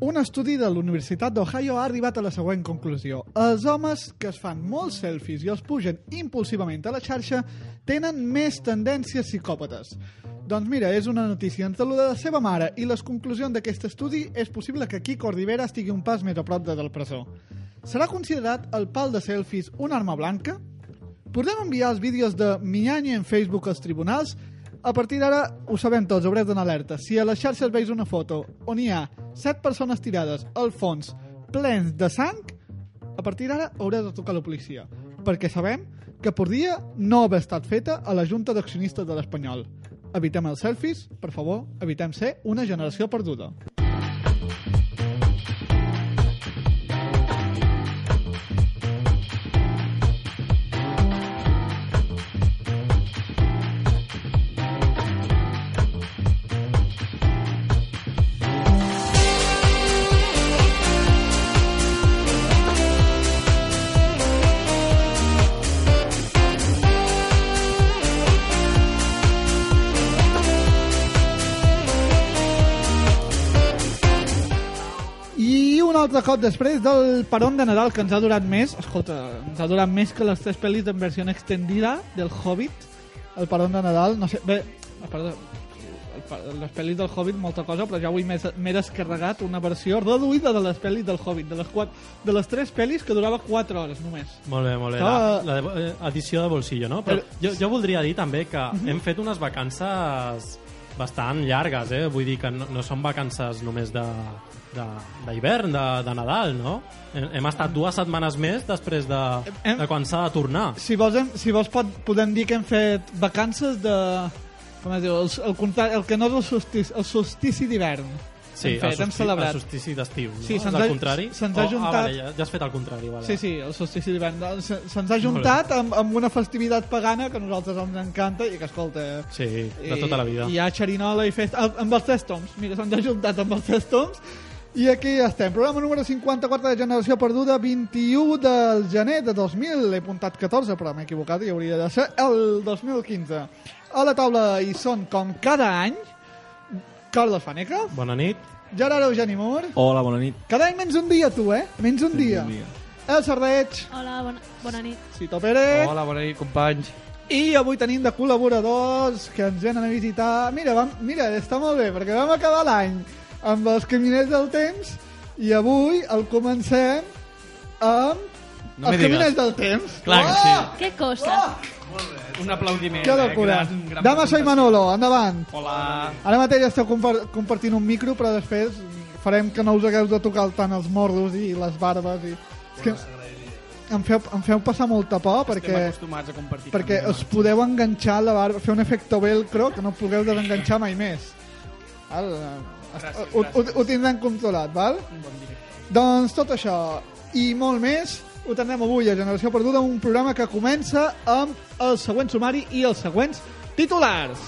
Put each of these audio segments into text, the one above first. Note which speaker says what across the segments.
Speaker 1: Un estudi de la Universitat d'Ohio ha arribat a la següent conclusió. Els homes que es fan molts selfies i els pugen impulsivament a la xarxa tenen més tendències psicòpates. Doncs mira, és una notícia entre lo de la seva mare i les conclusions d'aquest estudi és possible que Kiko Rivera estigui un pas més a prop de del presó. Serà considerat el pal de selfies una arma blanca? Podem enviar els vídeos de Miani en Facebook als tribunals? A partir d'ara ho sabem tots, hauràs d'anar alerta. Si a les xarxes veus una foto on hi ha set persones tirades al fons plens de sang, a partir d'ara hauràs de tocar la policia, perquè sabem que podria no haver estat feta a la Junta d'Accionistes de l'Espanyol. Evitem els selfies, per favor, evitem ser una generació perduda. I un altre cop després del peron de Nadal que ens ha durat més, escolta, ens ha durat més que les tres pel·lis en versió extendida del Hobbit, el peron de Nadal, no sé, bé, a part de el pa- les pel·lis del Hobbit molta cosa, però ja avui m'he m'he descarregat una versió reduïda de les pel·lis del Hobbit, de les, quatre, de les tres pel·lis que durava 4 hores només.
Speaker 2: Molt bé, molt bé.
Speaker 1: Estava-
Speaker 2: La, la de, eh, edició de bolsillo, no? Però jo, jo voldria dir també que
Speaker 1: Mhm.
Speaker 2: hem fet unes vacances bastant llargues, eh? Vull dir que no, no són vacances només de de- d'hivern, de, de, de Nadal, no? Hem, hem estat dues setmanes més després de,
Speaker 1: Mhm. Hem-
Speaker 2: de quan s'ha de tornar.
Speaker 1: Si vols, hem, si vols pot, podem dir que hem fet vacances de... Com es diu? El, el, contrari- el que no és el solstici, el solstici d'hivern. hem
Speaker 2: Sí,
Speaker 1: fet,
Speaker 2: el
Speaker 1: hem
Speaker 2: solsti-
Speaker 1: celebrat.
Speaker 2: El solstici d'estiu, no?
Speaker 1: Sí,
Speaker 2: és
Speaker 1: se'ns
Speaker 2: el
Speaker 1: ha-
Speaker 2: contrari?
Speaker 1: se'ns ha
Speaker 2: Oh,
Speaker 1: juntat-
Speaker 2: Ah, vale, ja, ja has fet el contrari, vale.
Speaker 1: Sí, sí, el solstici d'hivern. Doncs se- Se'ns ha juntat amb, amb una festivitat pagana que a nosaltres ens encanta i que, escolta...
Speaker 2: Sí, de
Speaker 1: i-
Speaker 2: tota la vida.
Speaker 1: Hi ha xerinola i festa... ah, Amb els tres toms. Mira, se'ns ha juntat amb els tres toms. I aquí estem. Programa número 54 de Generació Perduda, 21 del gener de 2000. He apuntat 14, però m'he equivocat i hauria de ser el 2015. A la taula hi són, com cada any, Carles Faneca,
Speaker 2: Bona nit.
Speaker 1: Gerard Eugeni Mur...
Speaker 3: Hola, bona nit.
Speaker 1: Cada any menys un dia, tu, eh? Menys un dia. Eh,
Speaker 3: un dia.
Speaker 1: El Sardeig,
Speaker 4: Hola, bona, bona nit.
Speaker 1: Cito Pérez.
Speaker 5: Hola, bona nit, companys.
Speaker 1: I avui tenim de col·laboradors que ens venen a visitar. Mira, vam, mira està molt bé, perquè vam acabar l'any amb els Caminers del Temps i avui el comencem amb
Speaker 3: No
Speaker 1: els
Speaker 3: me digues.
Speaker 1: Caminers del Temps.
Speaker 3: Clar que sí.
Speaker 4: Oh, Què cosa?
Speaker 2: Oh.
Speaker 5: Un aplaudiment.
Speaker 1: Que
Speaker 5: eh?
Speaker 1: locura.
Speaker 5: Gran- gran
Speaker 1: Dama, soy Manolo, endavant.
Speaker 5: Hola.
Speaker 1: Ara mateix esteu compar compartint un micro, però després farem que no us hagueu de tocar tant els morros i les barbes. I... És que em feu, em feu passar molta por
Speaker 5: Estem
Speaker 1: perquè...
Speaker 5: acostumats a compartir.
Speaker 1: perquè
Speaker 5: camins.
Speaker 1: us podeu enganxar la barba, fer un efecte velcro que no pugueu desenganxar mai més. Val?
Speaker 5: Gràcies,
Speaker 1: ho, ho,
Speaker 5: gràcies.
Speaker 1: ho tindran controlat, val?
Speaker 5: Un bon dia.
Speaker 1: Doncs tot això i molt més ho tindrem avui a Generació Perduda, un programa que comença amb el següent sumari i els següents titulars.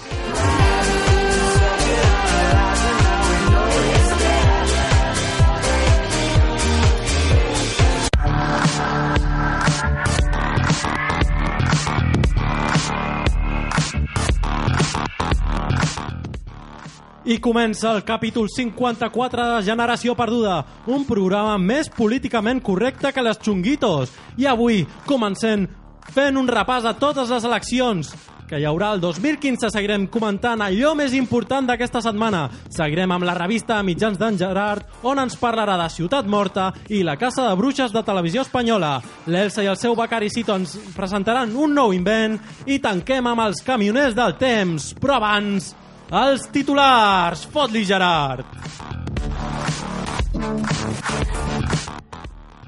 Speaker 2: I comença el capítol 54 de Generació Perduda, un programa més políticament correcte que les xunguitos. I avui comencem fent un repàs a totes les eleccions que hi haurà el 2015. Seguirem comentant allò més important d'aquesta setmana. Seguirem amb la revista Mitjans d'en Gerard, on ens parlarà de Ciutat Morta i la Casa de Bruixes de Televisió Espanyola. L'Elsa i el seu becaricito ens presentaran un nou invent i tanquem amb els camioners del temps. Però abans, els titulars! Fot-li, Gerard!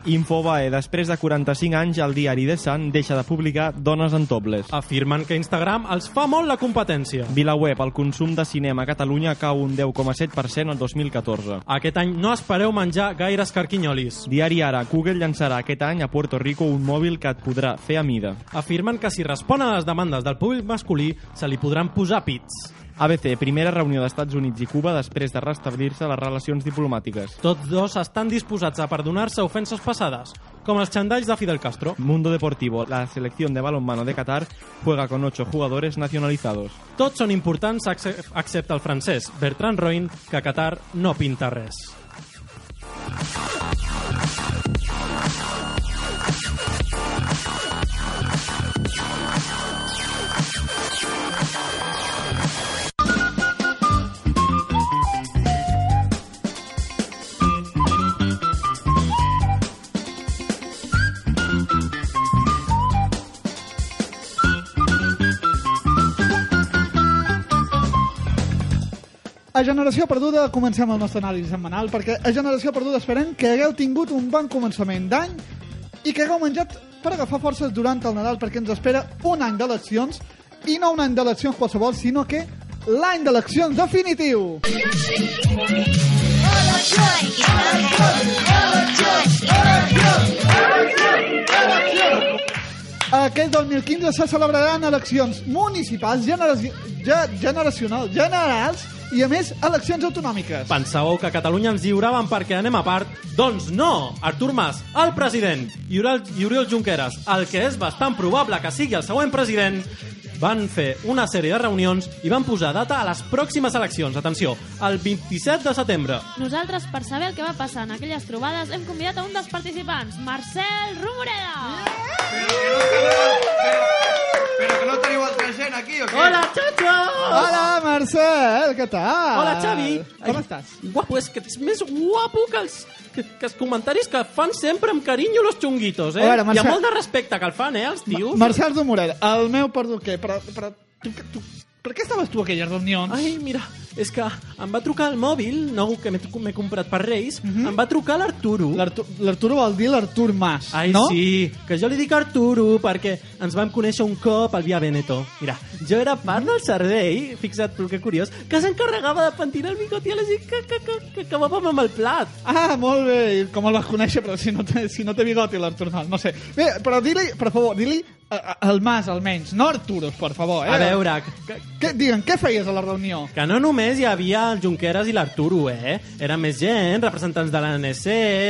Speaker 3: Infobae, després de 45 anys, el diari de Sant deixa de publicar dones en tobles.
Speaker 2: Afirmen que Instagram els fa molt la competència.
Speaker 3: Vilaweb, el consum de cinema a Catalunya cau un 10,7% el 2014.
Speaker 2: Aquest any no espereu menjar gaires carquinyolis.
Speaker 3: Diari Ara, Google llançarà aquest any a Puerto Rico un mòbil que et podrà fer a mida.
Speaker 2: Afirmen que si responen a les demandes del públic masculí, se li podran posar pits.
Speaker 3: ABC, primera reunió d'Estats Units i Cuba després de restablir-se les relacions diplomàtiques.
Speaker 2: Tots dos estan disposats a perdonar-se ofenses passades, com els xandalls de Fidel Castro.
Speaker 3: Mundo Deportivo, la selección de balonmano de Qatar juega con 8 jugadores nacionalizados.
Speaker 2: Tots són importants ex- excepte el francès, Bertrand Roin, que a Qatar no pinta res.
Speaker 1: a Generació Perduda comencem el nostre anàlisi setmanal perquè a Generació Perduda esperem que hagueu tingut un bon començament d'any i que hagueu menjat per agafar forces durant el Nadal perquè ens espera un any d'eleccions i no un any d'eleccions qualsevol, sinó que l'any d'eleccions definitiu! Aquest 2015 se celebraran eleccions municipals, generaci ge generacionals, generals i, a més, eleccions autonòmiques.
Speaker 2: Pensàveu que a Catalunya ens lliuraven perquè anem a part? Doncs no! Artur Mas, el president, i Oriol, i Oriol Junqueras, el que és bastant probable que sigui el següent president, van fer una sèrie de reunions i van posar data a les pròximes eleccions. Atenció, el 27 de setembre.
Speaker 4: Nosaltres, per saber el que va passar en aquelles trobades, hem convidat a un dels participants, Marcel Rumoreda!
Speaker 6: Però que no teniu altra gent aquí, o què?
Speaker 2: Hola, Chacho!
Speaker 1: Hola, Marcel, què tal?
Speaker 2: Hola, Xavi!
Speaker 1: Ah. Com
Speaker 2: Ai,
Speaker 1: estàs?
Speaker 2: Guapo, és que ets més guapo que els, que, que els comentaris que fan sempre amb carinyo los xunguitos, eh?
Speaker 1: A veure,
Speaker 2: Hi ha
Speaker 1: Mercè-
Speaker 2: molt de respecte que el fan, eh, els tios.
Speaker 1: Marcel Morera, el meu perduquer, però, però tu, tu, per què estaves tu a aquelles reunions?
Speaker 2: Ai, mira, és que em va trucar el mòbil nou que m'he m'he comprat per Reis, em va trucar l'Arturo.
Speaker 1: Mhm. L'Artu- L'Arturo vol dir l'Artur Mas,
Speaker 2: Ai,
Speaker 1: no?
Speaker 2: sí, que jo li dic Arturo perquè ens vam conèixer un cop al Via Veneto. Mira, jo era part del servei, fixa't tu que curiós, que s'encarregava de pentinar el bigoti a la gent que, que, que, que acabàvem amb el plat.
Speaker 1: Ah, molt bé, i com el vas conèixer, però si no té, si no té bigoti l'Artur Mas, no sé. Bé, però di-li, per favor, di-li a- a- al Mas, almenys, no Arturos, per favor, eh?
Speaker 2: A veure, que,
Speaker 1: Què, digue'm, què feies a la reunió?
Speaker 2: que no només hi havia el Junqueras i l'Arturo, eh? Era més gent, representants de l'ANC,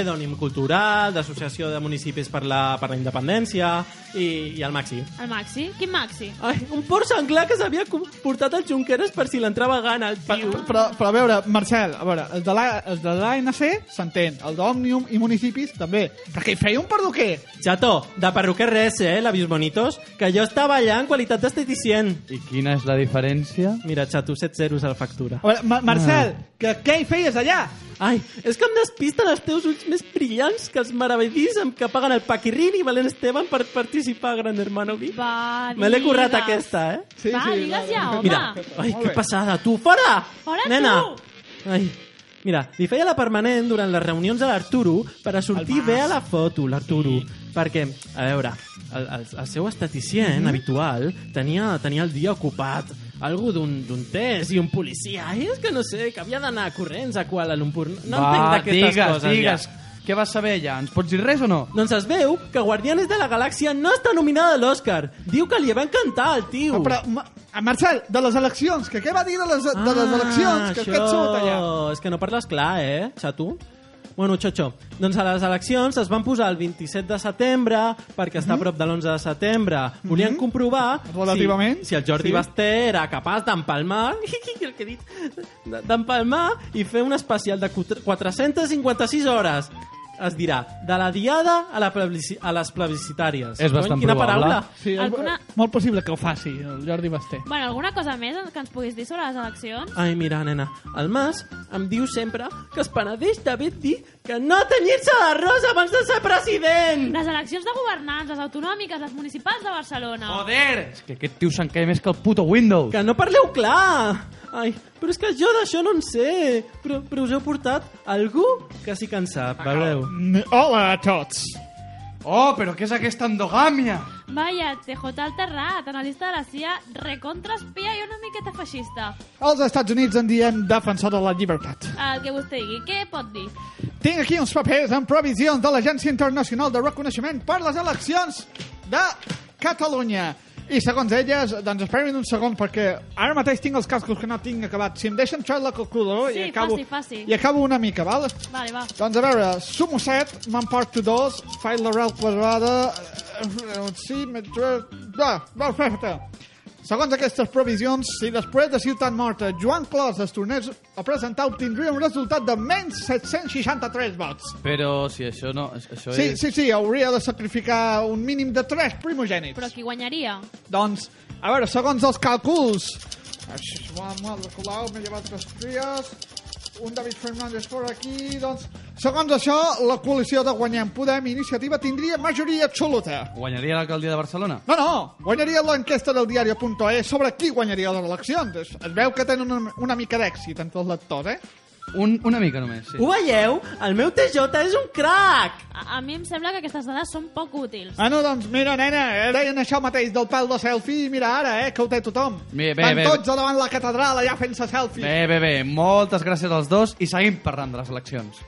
Speaker 2: d'Ònim Cultural, d'Associació de Municipis per la, per la Independència i, i el Maxi.
Speaker 4: El Maxi? Quin Maxi?
Speaker 2: Ai, un porc senglar que s'havia com- portat el Junqueras per si l'entrava gana, el
Speaker 1: Però,
Speaker 2: tio.
Speaker 1: però, però a veure, Marcel, a veure, el de la- el de l'ANC s'entén, el d'Òmnium i municipis també, però que hi feia un perduquer?
Speaker 2: Chato, de perruquer res, eh, labios bonitos, que jo estava allà en qualitat d'esteticient.
Speaker 5: I quina és la diferència?
Speaker 2: Mira, Chato, 7 zeros a la factura.
Speaker 1: A veure, Mar Marcel,
Speaker 2: Ah.
Speaker 1: que, què hi feies allà?
Speaker 2: Ai, és que em despisten els teus ulls més brillants que els meravellís amb que paguen el Paquirrin i Valent Esteban per participar a Gran Hermano VIP.
Speaker 4: Va,
Speaker 2: Me l'he
Speaker 4: digues.
Speaker 2: currat aquesta, eh?
Speaker 1: Sí,
Speaker 4: Va,
Speaker 1: sí,
Speaker 4: digues
Speaker 1: va,
Speaker 4: ja,
Speaker 1: va.
Speaker 4: home.
Speaker 2: Mira, ai,
Speaker 1: Molt
Speaker 2: que
Speaker 1: bé.
Speaker 2: passada, tu, fora!
Speaker 4: Fora,
Speaker 2: Nena!
Speaker 4: tu!
Speaker 2: Ai, mira, li feia la permanent durant les reunions a l'Arturo per a sortir
Speaker 1: El Mas.
Speaker 2: bé a la foto, l'Arturo. Perquè, a veure, el, el, el seu esteticient
Speaker 5: Mhm.
Speaker 2: habitual tenia, tenia el dia ocupat algú d'un d'un test i un policia. Ai, és que no sé, que havia d'anar corrents a Kuala Lumpur. No, no entenc
Speaker 5: Va,
Speaker 2: d'aquestes
Speaker 5: digues,
Speaker 2: coses.
Speaker 5: digues.
Speaker 2: Ja.
Speaker 5: Què vas saber allà? Ens pots dir res o no?
Speaker 2: Doncs es veu que Guardianes de la Galàxia no està nominada a l'Oscar. Diu que li va encantar al tio.
Speaker 1: Però, Ma- a Marcel, de les eleccions, que què va dir de les, de les eleccions? Que
Speaker 2: Ah, això...
Speaker 1: aquest surt allà.
Speaker 2: És que no parles clar, eh, Xatu? Bueno, Xotxo, doncs a les eleccions es van posar el 27 de setembre, perquè
Speaker 1: Mhm.
Speaker 2: està a prop de l'11 de setembre. Volien comprovar
Speaker 1: Relativament,
Speaker 2: si, si el Jordi
Speaker 1: sí.
Speaker 2: Basté era capaç d'empalmar el que he dit, d- d'empalmar i fer un especial de quatre- 456 hores. Es dirà, de la diada a, la plebisci- a les plebiscitàries.
Speaker 5: És
Speaker 2: Cony,
Speaker 5: bastant
Speaker 2: quina
Speaker 5: probable.
Speaker 2: paraula.
Speaker 1: Sí,
Speaker 4: Alguna-
Speaker 1: Molt possible que ho faci, el Jordi Basté.
Speaker 4: Bueno, alguna cosa més que ens puguis dir sobre les eleccions?
Speaker 2: Ai, mira, nena, el Mas em diu sempre que es penedeix d'haver dit que no tenyir-se de rosa abans de ser president!
Speaker 4: Les eleccions de governants, les autonòmiques, les municipals de Barcelona.
Speaker 5: Joder! És que aquest tio s'encaia més que el puto Windows.
Speaker 2: Que no parleu clar! Ai, però és que jo d'això no en sé! Però, però us heu portat algú que sí que en sap, veureu?
Speaker 1: Mm, Hola a tots.
Speaker 5: Oh, però què és aquesta endogàmia?
Speaker 4: Vaya, TJ Alterrat, analista de la CIA, recontra espia i una miqueta feixista.
Speaker 1: Als Estats Units en diem defensor de la llibertat.
Speaker 4: El que vostè digui, què pot dir?
Speaker 1: Tinc aquí uns papers amb provisions de l'Agència Internacional de Reconeixement per les eleccions de Catalunya. I segons elles, doncs esperin un segon perquè ara mateix tinc els cascos que no tinc acabat. Si em deixen xar la calculadora i,
Speaker 4: Sí,
Speaker 1: acabo,
Speaker 4: faci, faci.
Speaker 1: i acabo una mica, val?
Speaker 4: Vale, va.
Speaker 1: Doncs a veure, sumo 7, m'emporto 2, faig l'arrel quadrada, eh, eh, sí, metre... Ah, va, perfecte. Segons aquestes provisions, si després de Ciutat Morta Joan Clos es tornés a presentar, obtindria un resultat de menys 763 vots.
Speaker 5: Però si això no... Això
Speaker 1: Sí,
Speaker 5: és...
Speaker 1: sí, sí, hauria de sacrificar un mínim de 3 primogènits.
Speaker 4: Però qui guanyaria?
Speaker 1: Doncs, a veure, segons els càlculs... Així, Joan, Marc, Colau, m'he llevat tres tries...
Speaker 5: un David Fernández per aquí, doncs... Segons això, la coalició de Guanyem Podem i Iniciativa tindria majoria absoluta.
Speaker 7: Guanyaria l'alcaldia de Barcelona?
Speaker 5: No, no, guanyaria l'enquesta del diari.es sobre qui guanyaria les eleccions. Es, es veu que tenen una, una mica d'èxit entre els lectors, eh?
Speaker 7: Un, una mica només, sí.
Speaker 1: Ho veieu? El meu TJ és un crac!
Speaker 4: A, a mi em sembla que aquestes dades són poc útils.
Speaker 5: Ah, no, doncs mira, nena, eh, deien això mateix del pal de selfie i mira ara, eh, que ho té tothom.
Speaker 7: Bé, bé,
Speaker 5: Van
Speaker 7: bé.
Speaker 5: tots a davant la catedral allà fent-se selfie.
Speaker 7: Bé, bé, bé. Moltes gràcies als dos i seguim parlant de les eleccions.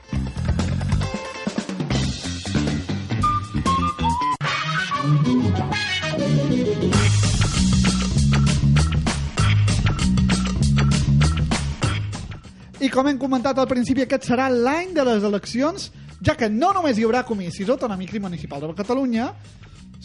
Speaker 5: I com hem comentat al principi, aquest serà l'any de les eleccions, ja que no només hi haurà comicis autonòmics i municipals de Catalunya,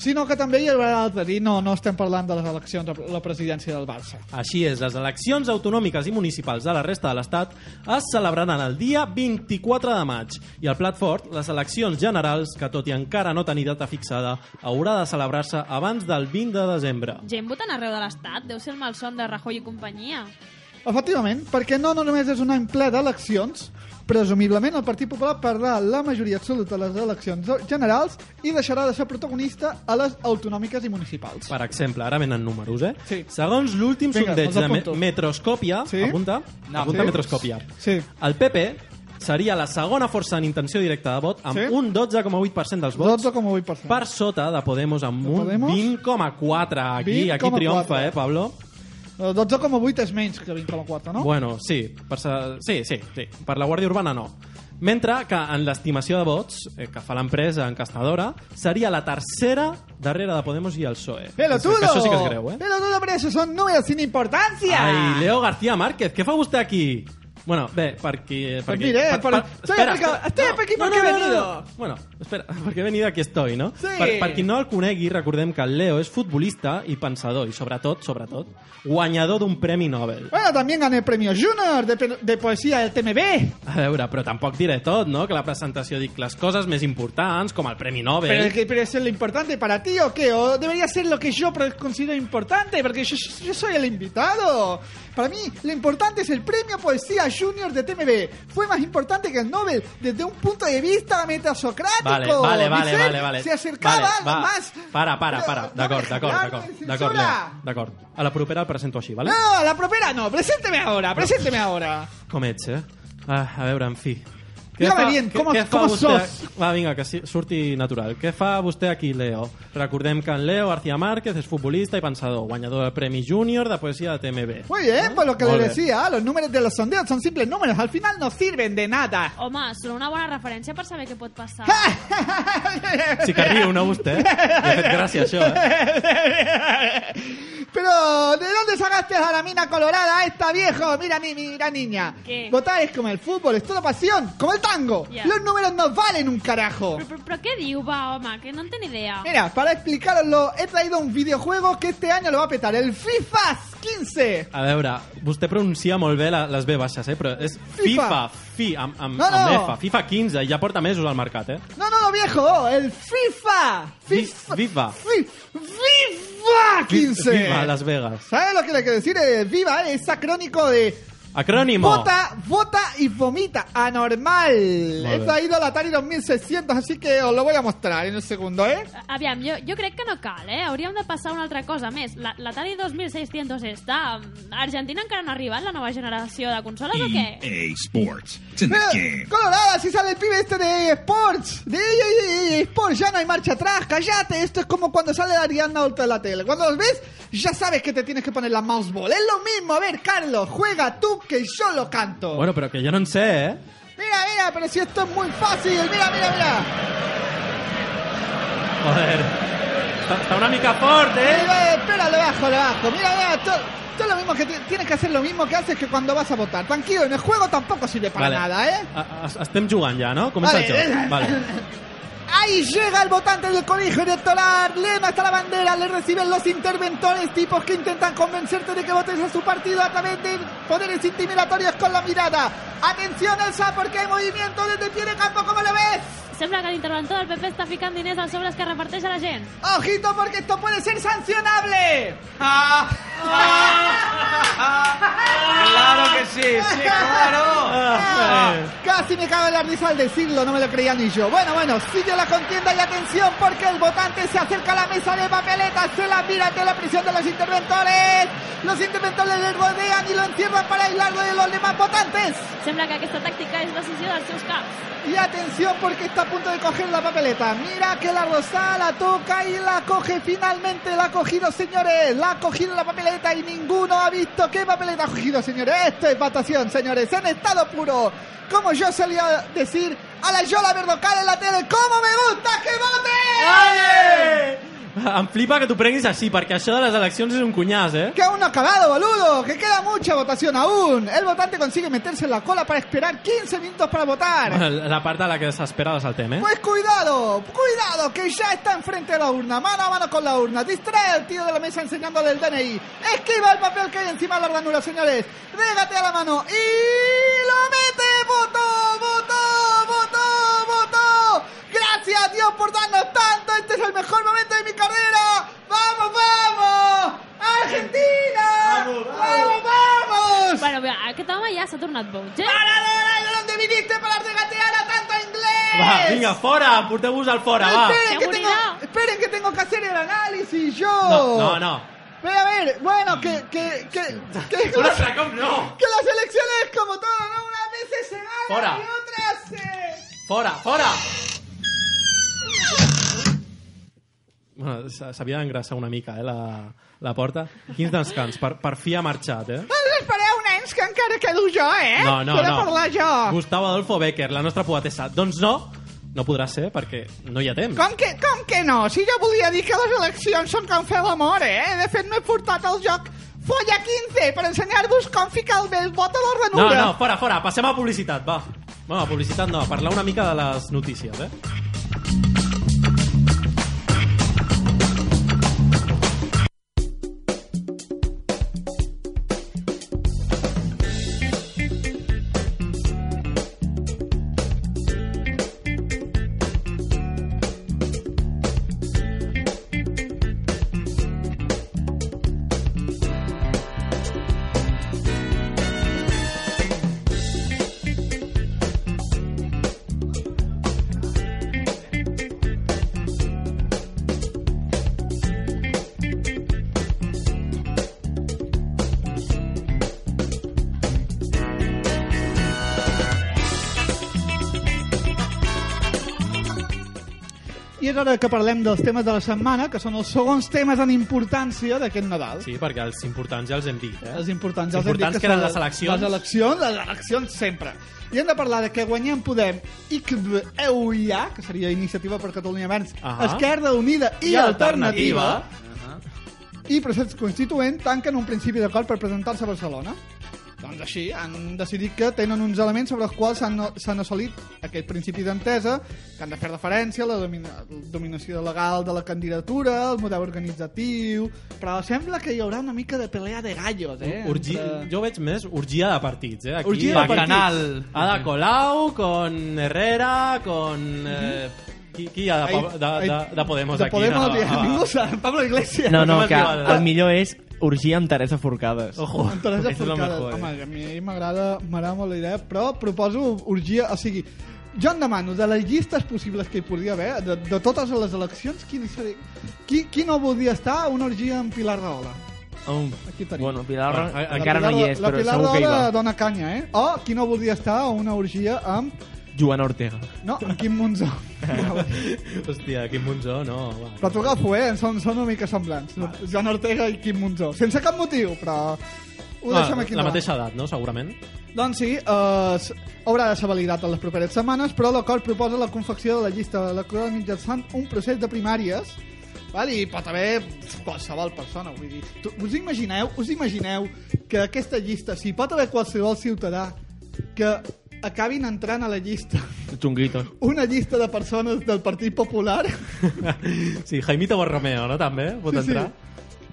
Speaker 5: sinó que també hi haurà altres. I no, no estem parlant de les eleccions a la presidència del Barça.
Speaker 2: Així és, les eleccions autonòmiques i municipals de la resta de l'Estat es celebraran el dia 24 de maig i al plat fort, les eleccions generals, que tot i encara no tenir data fixada, haurà de celebrar-se abans del 20 de desembre.
Speaker 4: Gent votant arreu de l'estat, deu ser el malson de Rajoy i companyia.
Speaker 5: Efectivament, perquè no, no només és un any ple d'eleccions, presumiblement el Partit Popular perdrà la majoria absoluta a les eleccions generals i deixarà de ser protagonista a les autonòmiques i municipals.
Speaker 2: Per exemple, ara venen números, eh?
Speaker 5: Sí.
Speaker 2: Segons l'últim
Speaker 5: Vinga,
Speaker 2: sondeig
Speaker 5: els
Speaker 2: de Me-
Speaker 5: apunto.
Speaker 2: Metroscòpia,
Speaker 5: Sí?
Speaker 2: apunta,
Speaker 7: No,
Speaker 2: apunta
Speaker 5: sí.
Speaker 2: Metroscòpia,
Speaker 5: Sí.
Speaker 2: el PP seria la segona força en intenció directa de vot amb
Speaker 5: Sí?
Speaker 2: un 12,8% dels vots
Speaker 5: 12,8%.
Speaker 2: per sota de Podemos amb
Speaker 5: De
Speaker 2: un
Speaker 5: Podemos?
Speaker 2: 20,4 aquí, aquí
Speaker 5: 20,4.
Speaker 2: triomfa, eh, Pablo?
Speaker 5: Eh, 12,8 és menys que 20,4, no?
Speaker 2: Bueno, sí, per, sa- sí, sí, sí, per la Guàrdia Urbana no. Mentre que en l'estimació de vots eh, que fa l'empresa enquestadora seria la tercera darrere de Podemos i el PSOE.
Speaker 5: Pelotudo!
Speaker 2: Que Això sí que és greu, eh?
Speaker 5: Pelotudo, però això són números sin importància!
Speaker 2: Ai, Leo García Márquez, què fa vostè aquí? Bueno, bé, perquè... perquè
Speaker 5: diré, per- Pues estoy
Speaker 2: espera,
Speaker 5: aquí- estoy aquí porque he venido.
Speaker 2: Bueno, espera, perquè he venido aquí estoy, no?
Speaker 5: Sí.
Speaker 2: Per, per qui no el conegui, recordem que el Leo és futbolista i pensador, i sobretot, sobretot, guanyador d'un Premi Nobel.
Speaker 5: Bueno, también gané el premio Junior de, pe- de poesía del TMB.
Speaker 2: A veure, però tampoc diré tot, no? Que la presentació dic les coses més importants, com el Premi Nobel...
Speaker 5: Pero, es que- pero eso es lo importante para ti, ¿o qué? ¿O debería ser lo que yo pro- considero importante? Porque yo, yo soy el invitado. Para mí, lo importante es el premio Poesía Junior de TMB. Fue más importante que el Nobel desde un punto de vista metasocrático.
Speaker 2: Vale, vale, vale,
Speaker 5: Michel
Speaker 2: vale, vale.
Speaker 5: Se acercaba
Speaker 2: Vale,
Speaker 5: algo
Speaker 2: va.
Speaker 5: más.
Speaker 2: Para, para, para.
Speaker 5: Pero,
Speaker 2: D'acord,
Speaker 5: no me
Speaker 2: d'acord,
Speaker 5: dejarán,
Speaker 2: d'acord.
Speaker 5: me
Speaker 2: D'acord,
Speaker 5: censura.
Speaker 2: Leo, D'acord. A la propera el presento així, vale?
Speaker 5: No, la propera no. Presénteme ahora, presénteme ahora.
Speaker 2: Com ets, eh? Ah, a veure, en fi.
Speaker 5: Dígame bien, ¿cómo- cómo
Speaker 2: vostè...
Speaker 5: sos?
Speaker 2: Va, vinga, que sí, surti natural. Què fa vostè aquí, Leo? Recordem que en Leo García Márquez és futbolista i pensador, guanyador del Premi Júnior de Poesia de TMB.
Speaker 5: Muy bien, pues lo que
Speaker 2: Vale.
Speaker 5: le decía, los números de los sondeos son simples números. Al final no sirven de nada.
Speaker 4: Home, són una bona referència per saber què pot passar.
Speaker 2: Sí que riu, no, vostè? Li ha fet gràcia, això, eh?
Speaker 5: Pero, ¿de dónde sacaste a la mina colorada esta, viejo? Mira, ni, mira, niña.
Speaker 4: ¿Qué?
Speaker 5: Votar es como el fútbol, es toda pasión, como el tango.
Speaker 4: Ya.
Speaker 5: Los números no valen un carajo.
Speaker 4: Però, però, però què diu, va, home, que no en té ni idea.
Speaker 5: Mira, para explicaroslo, he traído un videojuego que este año lo va a petar, el FIFA 15.
Speaker 2: A veure, vostè pronuncia molt bé la, les B baixes, eh? Però és FIFA,
Speaker 5: FIFA.
Speaker 2: fi, amb, amb,
Speaker 5: No,
Speaker 2: amb
Speaker 5: no.
Speaker 2: F, FIFA 15, i ja porta mesos al mercat, eh?
Speaker 5: No, no, no, viejo, el FIFA.
Speaker 2: Vi-
Speaker 5: FIFA.
Speaker 2: viva.
Speaker 5: Fi- FIFA 15.
Speaker 2: Viva Las Vegas.
Speaker 5: ¿Sabes lo que le quiero decir? Eh, Viva es acrónico de
Speaker 2: Acrónimo.
Speaker 5: Vota, vota y vomita. Anormal. He
Speaker 2: bien.
Speaker 5: traído el Atari 2600, así que os lo voy a mostrar en un segundo, ¿eh?
Speaker 4: A- Aviam, jo, jo crec que no cal, eh? Hauríem de passar a una altra cosa més. La- L'Atari 2600 està... mm, A Argentina encara no ha arribat la nova generació de consoles o què?
Speaker 8: EA Sports. It's in the
Speaker 5: Mira,
Speaker 8: game.
Speaker 5: Colorada, si sale el pibe este de Sports. De EA Sports, ya no hay marcha atrás. Cállate, esto es como cuando sale la Ariana Alta de la tele. Cuando los ves, ya sabes que te tienes que poner la mouse ball. Es lo mismo. A ver, Carlos, juega tú que yo lo canto.
Speaker 2: Bueno, però que jo no en sé, eh?
Speaker 5: Mira, mira, pero si esto es muy fácil. Mira, mira, mira.
Speaker 2: Joder. Està, està una mica fort, eh?
Speaker 5: Mira, espera, lo bajo, lo bajo. Mira, mira, todo, todo lo mismo que ti- tienes que hacer lo mismo que haces que cuando vas a votar. Tranquilo, en el juego tampoco sirve para nada, ¿eh?
Speaker 2: A, a, estem jugant ja, no? Comença
Speaker 5: Vale.
Speaker 2: el joc. Vale.
Speaker 5: Ahí llega el votante del colegio electoral, lema hasta la bandera, le reciben los interventores, tipos que intentan convencerte de que votes a su partido a través de poderes intimidatorios con la mirada. Atención, Elsa, porque hay movimiento desde el pie de campo, ¿cómo lo ves?
Speaker 4: Sembla que l'interventor del PP està ficant diners als sobres que reparteix a la gent.
Speaker 5: Ojito, porque esto puede ser sancionable. Ah.
Speaker 1: ah.
Speaker 5: Claro que sí, sí, claro.
Speaker 1: Ah, Casi me cago en la risa al decirlo, no me lo creía ni yo. Bueno, bueno, sigue la contienda y atención porque el votante se acerca a la mesa de papeletas, se la mira ante la presión de los interventores. Los interventores le rodean y lo encierran para aislarlo de los demás votantes.
Speaker 4: Sembla que aquesta tàctica és decisió dels seus caps.
Speaker 1: Y atención porque está a punto de coger la papeleta. Mira que la Rosada la toca y la coge finalmente. La ha cogido, señores. La ha cogido la papeleta y ninguno ha visto qué papeleta ha cogido, señores. Esto es votación, señores. En estado puro. Como yo solía decir a la Yola Verdocal en la tele. ¡Cómo me gusta que vote!
Speaker 2: Em flipa que t'ho prenguis així, perquè això de les eleccions és un cunyàs, eh?
Speaker 1: Que aún no ha acabado, boludo. Que queda mucha votación aún. El votante consigue meterse en la cola para esperar 15 minutos para votar.
Speaker 2: La part de la que s'espera la saltem, eh?
Speaker 1: Pues cuidado, cuidado, que ya está enfrente de la urna, mano a mano con la urna. Distrae al tío de la mesa enseñándole el DNI. Esquiva el papel que hay encima de la ranura, señores. Régate a la mano y lo mete. ¡Voto, voto, voto, voto! Gracias a Dios por darnos tanto. Este es el mejor momento de mi carrera. ¡Vamos, vamos! ¡Argentina! ¡Vamos, vamos! vamos!
Speaker 4: Bueno, mira, aquest home ja s'ha tornat boig, eh?
Speaker 1: ¡Paradora! ¿De dónde viniste para regatear a tanto inglés?
Speaker 2: Va, vinga, fora! Porteu-vos al fora,
Speaker 1: No,
Speaker 2: va!
Speaker 1: esperen, que
Speaker 4: Seguridad.
Speaker 1: tengo, esperen que tengo que hacer el análisis yo.
Speaker 2: No, no, no.
Speaker 1: Pero a ver, bueno, que, que, que, que, que
Speaker 2: Un
Speaker 1: las
Speaker 2: atracón, no!
Speaker 1: elecciones como todo, ¿no? Unas veces se ganan
Speaker 2: Fora.
Speaker 1: y otras se...
Speaker 2: Fora, fora! Bueno, s- S'havia d'engrassar una mica, eh, la, la porta. Quins descans, per, per fi ha marxat, eh?
Speaker 1: Doncs espereu, nens, que encara quedo jo, eh?
Speaker 2: No, no,
Speaker 1: He de
Speaker 2: no.
Speaker 1: parlar jo.
Speaker 5: Ah.
Speaker 2: Gustavo Adolfo Becker, la nostra poetessa. Doncs no, no podrà ser perquè no hi ha temps.
Speaker 1: Com que, com que no? Si jo volia dir que les eleccions són com fer l'amor, eh? De fet, m'he portat al joc Folla 15 per ensenyar-vos com ficar el vell bot a la
Speaker 2: No,
Speaker 1: ranura.
Speaker 2: no, fora, fora, passem a publicitat, va. Bueno, a publicitat no, a parlar una mica de les notícies, eh?
Speaker 1: I és hora que parlem dels temes de la setmana, que són els segons temes en importància d'aquest Nadal.
Speaker 2: Sí, perquè els importants ja els hem dit, eh?
Speaker 1: Els importants,
Speaker 2: Els
Speaker 1: els hem dit
Speaker 2: importants que eren
Speaker 1: són
Speaker 2: les eleccions.
Speaker 1: Les eleccions, les eleccions sempre. I hem de parlar de que guanyem Podem E i que EUIA, que seria Iniciativa per Catalunya Verds,
Speaker 2: Ahà.
Speaker 1: Esquerra Unida i,
Speaker 2: I
Speaker 1: Alternativa,
Speaker 2: Alternativa.
Speaker 1: i Procés Constituent tanquen un principi d'acord per presentar-se a Barcelona. Doncs així, han decidit que tenen uns elements sobre els quals s'han s'han assolit aquest principi d'entesa, que han de fer referència a la domina, dominació legal de la candidatura, el model organitzatiu... Però sembla que hi haurà una mica de pelea de gallos, eh?
Speaker 2: Urgi...
Speaker 1: entre-
Speaker 2: Jo veig més urgia de partits, eh? Aquí,
Speaker 1: Orgia de partits.
Speaker 5: Bacanal.
Speaker 2: Ada Colau, con Herrera, con... Eh, qui, qui hi ha de, po- de, de, de Podemos
Speaker 1: de
Speaker 2: aquí?
Speaker 1: Podemos,
Speaker 2: no, Ah. no,
Speaker 1: ningú sap. Pablo Iglesias.
Speaker 3: No, no,
Speaker 2: No
Speaker 3: que
Speaker 2: m'has dit.
Speaker 3: el millor és urgir amb Teresa Forcades.
Speaker 2: Ojo.
Speaker 1: Amb Teresa
Speaker 3: Oh. És la
Speaker 1: Forcada.
Speaker 3: mejor, eh?
Speaker 1: Home, a mi m'agrada m'agrada molt la idea, però proposo urgia, o sigui, jo en demano, de les llistes possibles que hi podria haver, de, de totes les eleccions, qui, seria, qui, qui no voldria estar a una orgia amb Pilar Rahola?
Speaker 3: Um,
Speaker 1: Aquí tenim.
Speaker 3: bueno, Pilar
Speaker 2: Bueno, a- a-
Speaker 3: encara no
Speaker 1: Pilar-
Speaker 3: hi és,
Speaker 1: la
Speaker 3: però
Speaker 1: Pilar
Speaker 3: segur que hi
Speaker 1: Rahola
Speaker 3: va.
Speaker 1: dona canya, eh? O qui no voldria estar a una orgia amb...
Speaker 3: Joan Ortega.
Speaker 1: No, amb Quim Monzó.
Speaker 2: Hòstia, Quim Monzó, no. Va.
Speaker 1: però t'ho agafo, eh? Són, són una mica semblants. Joan Ortega i Quim Monzó. Sense cap motiu, però... Ho
Speaker 2: Ah,
Speaker 1: deixem aquí
Speaker 2: la
Speaker 1: endavant.
Speaker 2: mateixa edat, no? Segurament.
Speaker 1: Doncs sí, eh, s- haurà de ser validat en les properes setmanes, però l'acord proposa la confecció de la llista electoral mitjançant un procés de primàries val? i pot haver qualsevol persona, vull dir. Tu- Us imagineu, us imagineu que aquesta llista, si pot haver qualsevol ciutadà que acabin entrant a la llista
Speaker 3: Chunguito.
Speaker 1: una llista de persones del Partit Popular
Speaker 2: Sí, Jaimito Borromeo, no? També pot
Speaker 1: Sí, sí.
Speaker 2: entrar.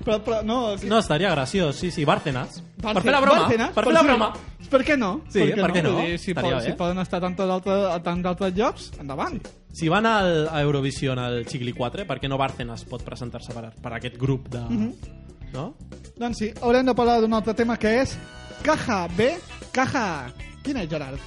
Speaker 1: però, però no, que-
Speaker 2: No, estaria graciós, sí, sí. Bárcenas.
Speaker 1: Bárcenas-
Speaker 2: per fer la broma.
Speaker 1: Bárcenas,
Speaker 2: per fer la
Speaker 1: sí.
Speaker 2: broma.
Speaker 1: Per què no?
Speaker 2: Sí, per què no?
Speaker 1: Vull Dir, si,
Speaker 2: Estaria
Speaker 1: poden,
Speaker 2: bé.
Speaker 1: si poden estar a tant d'altre- a tant d'altres llocs, endavant.
Speaker 2: Si van Ah.
Speaker 1: Mhm.
Speaker 2: al, a Eurovision al Xigli 4, per què no Bárcenas pot presentar-se per, per aquest grup de... No?
Speaker 1: Doncs sí, haurem de parlar d'un altre tema que és Caja B, Caja A. Quin és, Gerard?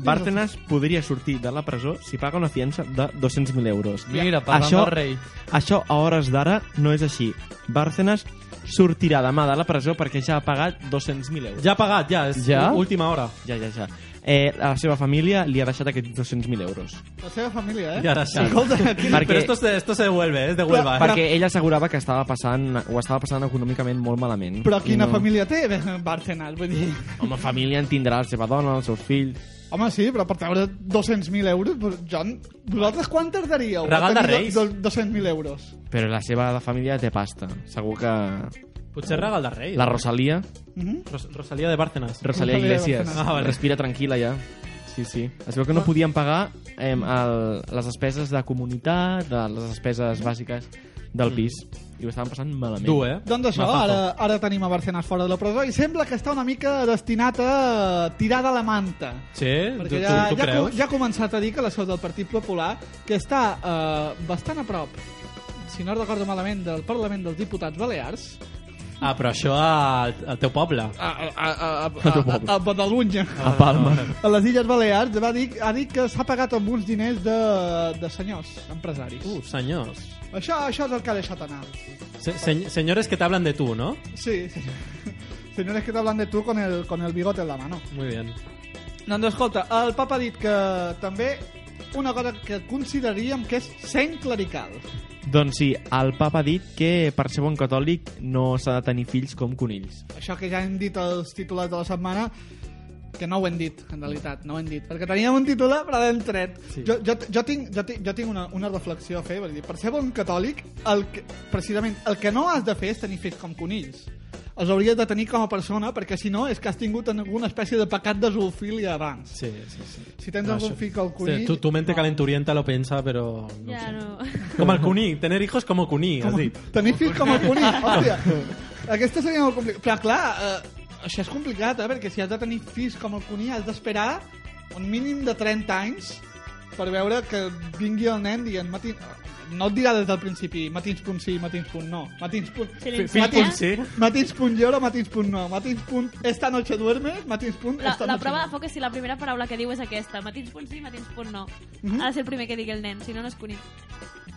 Speaker 3: Bárcenas podria sortir de la presó si paga una fiança de 200.000 euros.
Speaker 5: Mira, parlant
Speaker 3: això,
Speaker 5: del rei.
Speaker 3: Això, a hores d'ara, no és així. Bárcenas sortirà demà de la presó perquè ja ha pagat 200.000 euros.
Speaker 2: Ja ha pagat, ja. És
Speaker 5: Ja?
Speaker 2: última hora.
Speaker 3: Ja, ja, ja. Eh, a la seva família li ha deixat aquests 200.000 euros.
Speaker 1: La seva família, eh?
Speaker 2: Ja ara sí.
Speaker 3: Perquè-
Speaker 2: Però esto se, esto se devuelve, es de Huelva. eh?
Speaker 3: Perquè ella assegurava que estava passant, ho estava passant econòmicament molt malament.
Speaker 1: Però
Speaker 3: I
Speaker 1: quina
Speaker 3: no...
Speaker 1: família té Bárcenas? Vull dir...
Speaker 3: Home, família en tindrà la seva dona, els seus fills...
Speaker 1: Home, sí, però per treure 200.000 euros, però, John, vosaltres quan tardaríeu
Speaker 2: Regal de
Speaker 1: a tenir
Speaker 2: Reis.
Speaker 1: do- do- 200.000 euros?
Speaker 3: Però la seva família té pasta. Segur que...
Speaker 2: Potser regal de rei.
Speaker 3: La Rosalia,
Speaker 2: Ros Rosalía de Bárcenas.
Speaker 3: Rosalia
Speaker 1: Rosalía
Speaker 3: Iglesias,
Speaker 1: Bárcenas.
Speaker 2: Ah, vale.
Speaker 3: respira tranquil·la ja. Sí, sí. Es veu que no podien pagar eh, el, les despeses de comunitat, de les despeses bàsiques del pis. I ho estaven passant malament.
Speaker 2: Du, Mm. eh?
Speaker 1: Doncs això,
Speaker 2: Mazazo.
Speaker 1: ara, ara tenim a Barcenas fora de la presó i sembla que està una mica destinat a tirar de la manta.
Speaker 2: Sí? Tu,
Speaker 1: Perquè
Speaker 2: tu,
Speaker 1: ja,
Speaker 2: tu
Speaker 1: ja, co-
Speaker 2: creus?
Speaker 1: ja ha començat a dir que la seu del Partit Popular, que està eh, bastant a prop, si no recordo malament, del Parlament dels Diputats Balears,
Speaker 2: Ah, però això al, al teu poble.
Speaker 1: a, a, a, a, a, a, a Badalunja,
Speaker 3: A Palma.
Speaker 1: a les Illes Balears, va dir, ha dit que s'ha pagat amb uns diners de, de senyors, empresaris.
Speaker 2: Uh, senyors.
Speaker 1: Això, això és el que ha deixat anar.
Speaker 2: Se, se, senyores que te hablan de tu, ¿no?
Speaker 1: Sí, sí. Senyores que t'hablan de tu con el, con el bigote en la mano.
Speaker 2: Muy bien.
Speaker 1: Doncs escolta, el papa ha dit que també una cosa que consideraríem que és seny clerical.
Speaker 3: Doncs sí, el papa ha dit que per ser bon catòlic no s'ha de tenir fills com conills.
Speaker 1: Això que ja hem dit als titulars de la setmana, que no ho hem dit, en realitat, no ho hem dit, perquè teníem un titular però l'hem tret.
Speaker 2: Sí.
Speaker 1: Jo, jo, jo, tinc, jo, tinc, jo tinc una, una reflexió a fer, vull dir, per ser bon catòlic, el que, precisament, el que no has de fer és tenir fills com conills. Els hauries de tenir com a persona, perquè si no és que has tingut alguna espècie de pecat de zoofília abans.
Speaker 2: Sí, sí, sí.
Speaker 1: Si tens algun fill com conill...
Speaker 2: Ah, Sí, tu, tu mente calenturienta lo piensa, pero... No
Speaker 4: Ja
Speaker 2: sé.
Speaker 4: no...
Speaker 2: Com el cuní, tener hijos como cuní, has dit.
Speaker 1: Tenir fills com el conill, hòstia. Aquesta seria molt complicada. Però clar, eh, això és complicat, eh? Perquè si has de tenir fills com el conill has d'esperar un mínim de 30 anys per veure que vingui el nen dient matin... No et dirà des del principi matins punt sí, matins punt no. Matins punt...
Speaker 4: Si li
Speaker 1: matins-
Speaker 4: ensenyes-
Speaker 1: Matins punt llora, matins punt no. Matins punt esta noche duermes, matins punt
Speaker 4: La,
Speaker 1: esta
Speaker 4: la
Speaker 1: noche
Speaker 4: prova de
Speaker 1: no.
Speaker 4: foc és si la primera paraula que diu és aquesta. Matins punt sí, matins punt no.
Speaker 1: Mhm.
Speaker 4: Ha de ser el primer que digui el nen, si no, no és conill.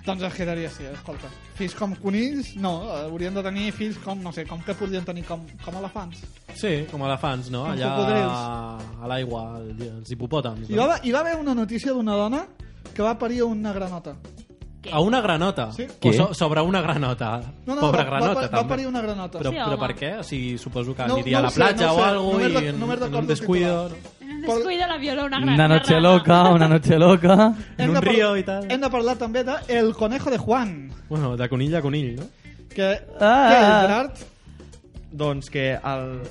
Speaker 1: Doncs es quedaria així, escolta. Fills com conills, no. eh, Haurien de tenir fills com, no sé, com que podrien tenir com, com elefants.
Speaker 2: Sí, com elefants, no?
Speaker 1: Com
Speaker 2: Allà
Speaker 1: cocodrils.
Speaker 2: a l'aigua, al- els hipopòtams.
Speaker 1: Hi va, haver- hi va haver una notícia d'una dona que va parir una granota.
Speaker 2: A una granota.
Speaker 1: Sí.
Speaker 2: O
Speaker 3: Què?
Speaker 2: so, sobre una granota. Pobra
Speaker 1: va,
Speaker 2: granota,
Speaker 1: va, va,
Speaker 2: també.
Speaker 1: va parir una granota.
Speaker 2: Però,
Speaker 4: Sí,
Speaker 2: però
Speaker 4: home.
Speaker 2: per què? O sigui, suposo que
Speaker 1: No- no
Speaker 2: aniria a
Speaker 1: ho
Speaker 2: la
Speaker 1: sé, no
Speaker 2: platja
Speaker 1: ho sé.
Speaker 2: o algo
Speaker 1: Només
Speaker 2: i
Speaker 1: de-
Speaker 2: en,
Speaker 1: només
Speaker 2: en
Speaker 1: recordo
Speaker 2: un
Speaker 1: el
Speaker 2: descuido...
Speaker 1: titular.
Speaker 4: En un
Speaker 1: Por-
Speaker 4: descuido la viola una gran...
Speaker 5: Una noche
Speaker 4: rana.
Speaker 5: loca, una noche loca.
Speaker 1: Hem
Speaker 2: en
Speaker 1: de
Speaker 2: un
Speaker 1: parlar-
Speaker 2: río i tal.
Speaker 1: Hem de parlar també de El Conejo de Juan,
Speaker 2: Bueno, de conill a conill, no?
Speaker 1: que,
Speaker 5: Ah.
Speaker 1: que és Gerard,
Speaker 3: Doncs que el...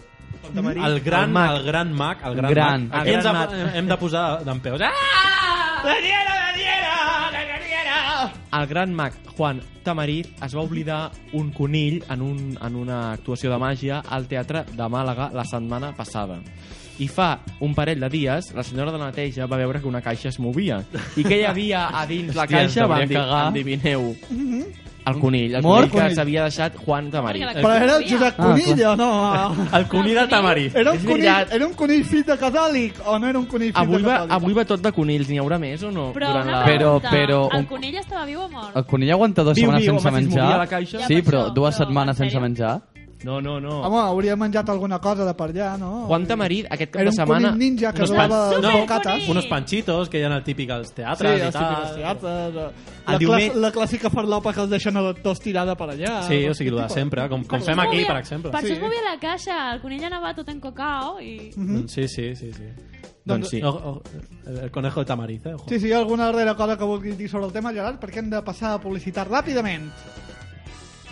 Speaker 3: Marí,
Speaker 2: El gran, el,
Speaker 3: mag.
Speaker 2: gran mag, el gran,
Speaker 5: Gran,
Speaker 2: mag.
Speaker 5: el
Speaker 2: Aquí ens
Speaker 5: gran
Speaker 2: ha- hem de posar d'en peus. Ah!
Speaker 3: El gran mag Juan Tamarit es va oblidar un conill en, un, en una actuació de màgia al Teatre de Màlaga la setmana passada. I fa un parell de dies, la senyora de la neteja va veure que una caixa es movia. I què hi havia a dins la
Speaker 5: Hòstia, ens
Speaker 3: caixa? Van
Speaker 5: hauria
Speaker 3: dir,
Speaker 5: cagar.
Speaker 3: endivineu. El conill, el
Speaker 5: Mort
Speaker 3: Mm-hmm. conill que
Speaker 1: conill.
Speaker 3: s'havia deixat Juan Tamarit.
Speaker 4: Perquè la-
Speaker 1: però era el Josep
Speaker 5: Ah,
Speaker 1: Conill, o no?
Speaker 2: El conill de Tamarit.
Speaker 1: Era un,
Speaker 3: És
Speaker 1: conill,
Speaker 3: veritat.
Speaker 1: era un conill fill de catòlic, o no era un conill fill
Speaker 3: Avui
Speaker 1: de
Speaker 3: va,
Speaker 1: catòlic?
Speaker 3: avui va tot de conills, n'hi haurà més o no?
Speaker 4: Però
Speaker 3: Durant
Speaker 4: una
Speaker 3: la...
Speaker 5: Però-
Speaker 4: pregunta,
Speaker 5: però
Speaker 4: el
Speaker 5: un-
Speaker 4: conill estava viu o mort?
Speaker 5: El conill aguanta dues
Speaker 3: Viu,
Speaker 5: setmanes
Speaker 3: viu,
Speaker 5: sense
Speaker 3: home, si es movia la
Speaker 5: menjar.
Speaker 3: caixa.
Speaker 4: Ja,
Speaker 5: Sí,
Speaker 4: per
Speaker 5: però
Speaker 4: això,
Speaker 5: dues
Speaker 4: però, en
Speaker 5: setmanes sense
Speaker 4: sèrio?
Speaker 5: menjar.
Speaker 3: No, no, no.
Speaker 1: Home, hauria menjat alguna cosa de per allà, no?
Speaker 3: Juan Tamarit aquest cap
Speaker 1: Era
Speaker 3: de
Speaker 1: un
Speaker 3: setmana...
Speaker 1: conill ninja que
Speaker 2: No,
Speaker 1: donava
Speaker 2: no,
Speaker 1: no, bocates.
Speaker 4: Sí.
Speaker 2: Unos panchitos que hi ha al típic als
Speaker 1: Sí,
Speaker 2: teatres
Speaker 1: els
Speaker 2: i tal.
Speaker 1: típics teatres. eh,
Speaker 3: El
Speaker 1: La,
Speaker 3: diumenge-
Speaker 1: clas- la clàssica farlopa que els deixen a tots tirada per allà.
Speaker 2: Sí, o sigui, el de
Speaker 1: Tipus-
Speaker 2: sempre, com, com
Speaker 4: això
Speaker 2: fem
Speaker 4: es
Speaker 2: aquí,
Speaker 4: movia-
Speaker 2: per exemple.
Speaker 4: Per això es
Speaker 1: Sí. Mhm.
Speaker 4: movia la caixa, el conill anava tot en cacao i...
Speaker 2: Mm, Sí, sí, sí, sí.
Speaker 3: Doncs sí.
Speaker 2: O, o, el conejo de tamariz, eh? Ojo.
Speaker 1: Sí, sí, hi ha alguna darrera cosa que vulguis dir sobre el tema, Gerard, perquè hem de passar a publicitat ràpidament.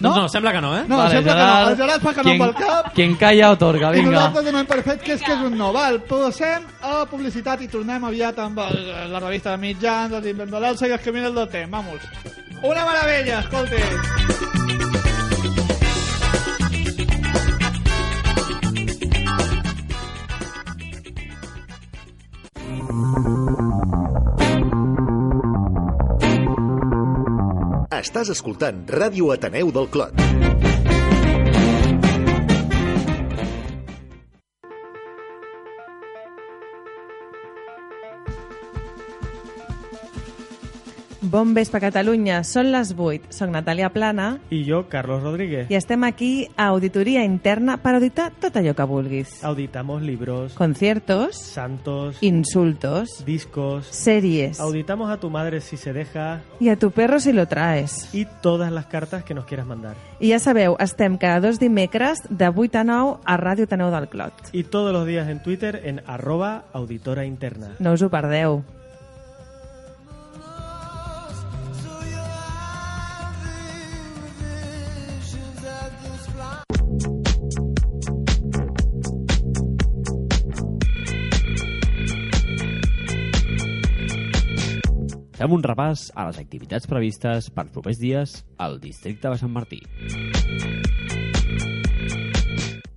Speaker 2: No? no, sembla que no, eh?
Speaker 1: No, sembla que no. El Gerard fa que no amb el cap.
Speaker 5: Quien calla otorga,
Speaker 1: I
Speaker 5: vinga.
Speaker 1: nosaltres donem per fet que és que és un no. Val, passem a publicitat i tornem aviat amb el, la revista de mitjans, el invent de l'Elsa i els camins del temps. Vamos. Una meravella, escolti.
Speaker 9: Estàs escoltant Ràdio Ateneu del Clot. Bon vespre, Catalunya. Són les 8. Soc Natàlia Plana
Speaker 10: I jo, Carlos Rodríguez.
Speaker 9: i estem aquí a Auditoria Interna per auditar tot allò que vulguis.
Speaker 10: Auditamos libros,
Speaker 9: Conciertos,
Speaker 10: santos,
Speaker 9: insultos,
Speaker 10: discos.
Speaker 9: series
Speaker 10: Auditamos a tu madre si se deja
Speaker 9: i a tu perro si lo traes.
Speaker 10: y todas las cartas que nos quieras mandar.
Speaker 9: I ja sabeu, estem cada dos dimecres de 8 a 9 a Ràdio Taneu del Clot.
Speaker 10: Y todos los días en Twitter en arroba auditora interna.
Speaker 9: No us ho perdeu.
Speaker 11: Fem un repàs a les activitats previstes per propers dies al districte de Sant Martí.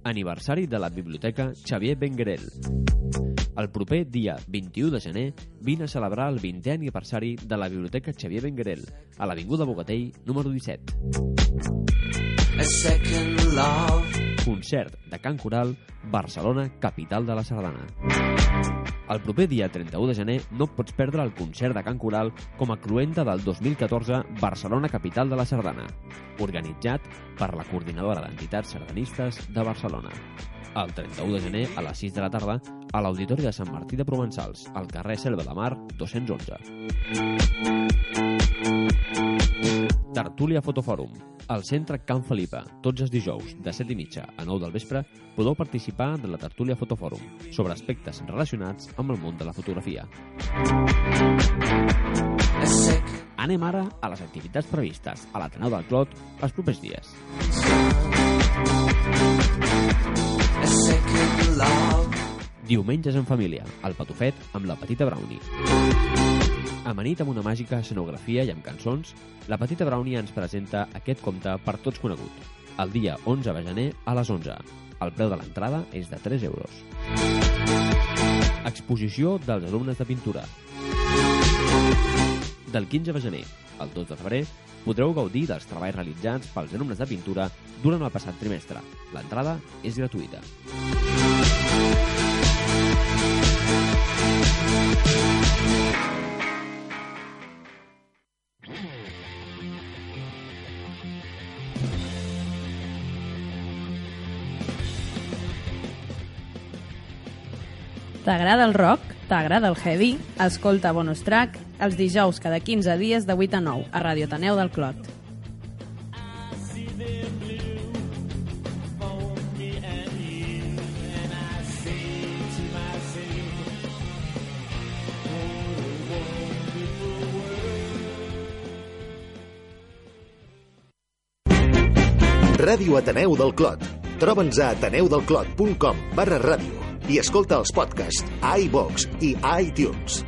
Speaker 11: Aniversari de la Biblioteca Xavier Benguerel. El proper dia 21 de gener vine a celebrar el 20è aniversari de la Biblioteca Xavier Benguerel a l'Avinguda Bogatell, número 17. Concert de Can Coral, Barcelona, capital de la Sardana. El proper dia 31 de gener no et pots perdre el concert de Can Coral com a cluenta del 2014 Barcelona Capital de la Sardana, organitzat per la Coordinadora d'Entitats Sardanistes de Barcelona. El 31 de gener, a les 6 de la tarda, a l'Auditori de Sant Martí de Provençals, al carrer Selva de Mar, 211. Tertúlia Fotofòrum. Al centre Can Felipa, tots els dijous, de 7 i mitja a 9 del vespre, podeu participar de la Tertúlia Fotofòrum sobre aspectes relacionats amb el món de la fotografia. Anem ara a les activitats previstes a l'Ateneu del Clot els propers dies. Diumenges en família, al Patufet amb la Petita Brownie. Amanit amb una màgica escenografia i amb cançons, la Petita Brownie ens presenta aquest conte per tots conegut. El dia 11 de gener a les 11. El preu de l'entrada és de 3 euros. Exposició dels alumnes de pintura. Del 15 de gener al 2 de febrer podreu gaudir dels treballs realitzats pels alumnes de pintura durant el passat trimestre. L'entrada és gratuïta.
Speaker 12: T'agrada el rock? T'agrada el heavy? Escolta Bonus Track els dijous cada 15 dies de 8 a 9 a Radio Taneu del Clot.
Speaker 8: Ràdio Ateneu del Clot. Troba'ns a ateneudelclot.com barra ràdio i escolta els podcasts a iVox i a iTunes.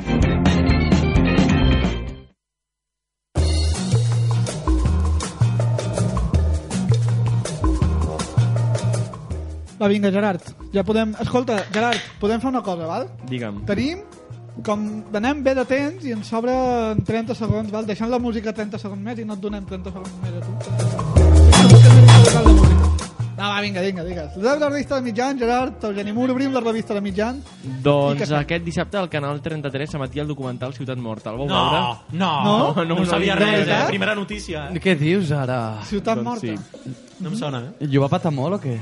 Speaker 1: Va, vinga, Gerard. Ja podem... Escolta, Gerard, podem fer una cosa, val?
Speaker 3: Digue'm.
Speaker 1: Tenim com anem bé de temps i ens sobra 30 segons, val? Deixant la música 30 segons més i no et donem 30 segons més a tu. No, Ah, va, vinga, vinga, digues. La revista de mitjans, Gerard, Eugeni Mur, obrim la revista de mitjans. I
Speaker 3: Doncs
Speaker 1: que-
Speaker 3: aquest dissabte al Canal 33 s'emetia el documental Ciutat Morta. El vau
Speaker 2: No,
Speaker 3: veure?
Speaker 2: no,
Speaker 1: No?
Speaker 3: no,
Speaker 2: no, no
Speaker 3: no,
Speaker 2: sabia
Speaker 3: no,
Speaker 2: res, eh?
Speaker 1: veritat?
Speaker 2: Primera notícia. eh?
Speaker 5: Què dius ara?
Speaker 1: Ciutat Morta.
Speaker 3: sí.
Speaker 2: No em sona, eh?
Speaker 5: Jo va patar molt o què?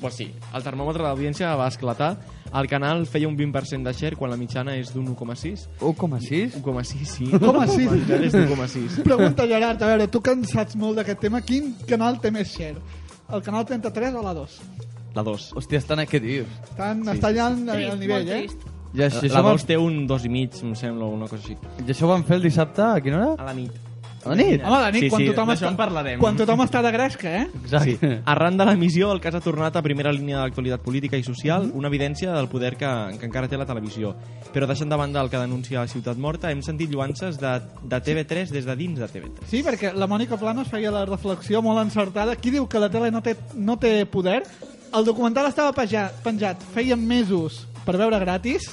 Speaker 3: Pues sí, el termòmetre d'audiència va esclatar. El canal feia un 20% de share quan la mitjana és d'un 1,6.
Speaker 5: 1,6?
Speaker 3: 1,6, sí.
Speaker 1: 1,6.
Speaker 3: El canal és d'1,6.
Speaker 1: Pregunta, Gerard, a veure, tu que en saps molt d'aquest tema, quin canal té més share? El canal 33 o la 2?
Speaker 3: La 2.
Speaker 5: Hòstia, estan aquí, què dius?
Speaker 1: Estan, sí. Està allà al,
Speaker 4: Trist,
Speaker 1: al nivell,
Speaker 4: molt
Speaker 1: eh?
Speaker 4: trist.
Speaker 5: Ja,
Speaker 3: La,
Speaker 5: això,
Speaker 3: la
Speaker 5: això, van,
Speaker 3: 2 té un 2,5, em sembla, o una cosa així.
Speaker 5: I això ho van fer el dissabte, a quina hora?
Speaker 3: A la nit.
Speaker 5: A la nit?
Speaker 1: Home, la nit,
Speaker 3: Sí,
Speaker 1: quan,
Speaker 3: sí,
Speaker 1: tothom
Speaker 3: d'això en parlarem.
Speaker 1: quan tothom està de gresca, eh?
Speaker 5: Exacte. Sí.
Speaker 3: Arran de l'emissió, el cas ha tornat a primera línia de l'actualitat política i
Speaker 1: Mhm.
Speaker 3: social, una evidència del poder que, que encara té la televisió. Però deixant de banda el que denuncia la Ciutat Morta, hem sentit lluances de, de TV3 des de dins de TV3.
Speaker 1: Sí, perquè la Mònica Planos feia la reflexió molt encertada. Qui diu que la tele no té, no té poder? El documental estava penjat, penjat feia mesos per veure gratis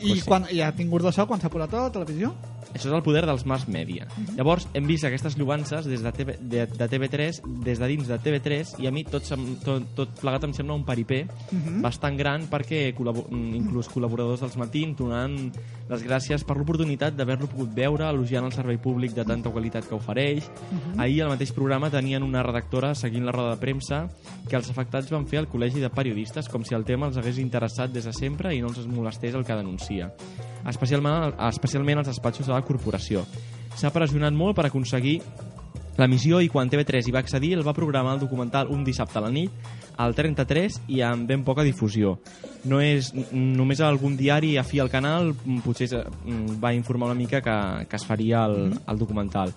Speaker 1: i, quan, i ha tingut ressò quan s'ha posat a la televisió.
Speaker 3: Això és el poder dels mass media.
Speaker 12: Mhm.
Speaker 3: Llavors, hem vist aquestes llobances des de, TV, de, de TV3, des de dins de TV3, i a mi tot, sem, tot, tot plegat em sembla un paripé
Speaker 13: Mhm.
Speaker 3: bastant gran perquè col·labo- mm, inclús col·laboradors dels matins donant les gràcies per l'oportunitat d'haver-lo pogut veure, elogiant el servei públic de tanta qualitat que ofereix.
Speaker 13: Mhm.
Speaker 3: Ahir al mateix programa tenien una redactora seguint la roda de premsa que els afectats van fer al Col·legi de Periodistes com si el tema els hagués interessat des de sempre i no els es molestés el que denuncia. Especialment, especialment als despatxos de la corporació. S'ha pressionat molt per aconseguir la missió i quan TV3 hi va accedir el va programar el documental un dissabte a la nit al 33 i amb ben poca difusió. No és n- només algun diari afí al canal mm, potser es- mm, va informar una mica que, que es faria
Speaker 2: Mhm.
Speaker 3: el, el documental.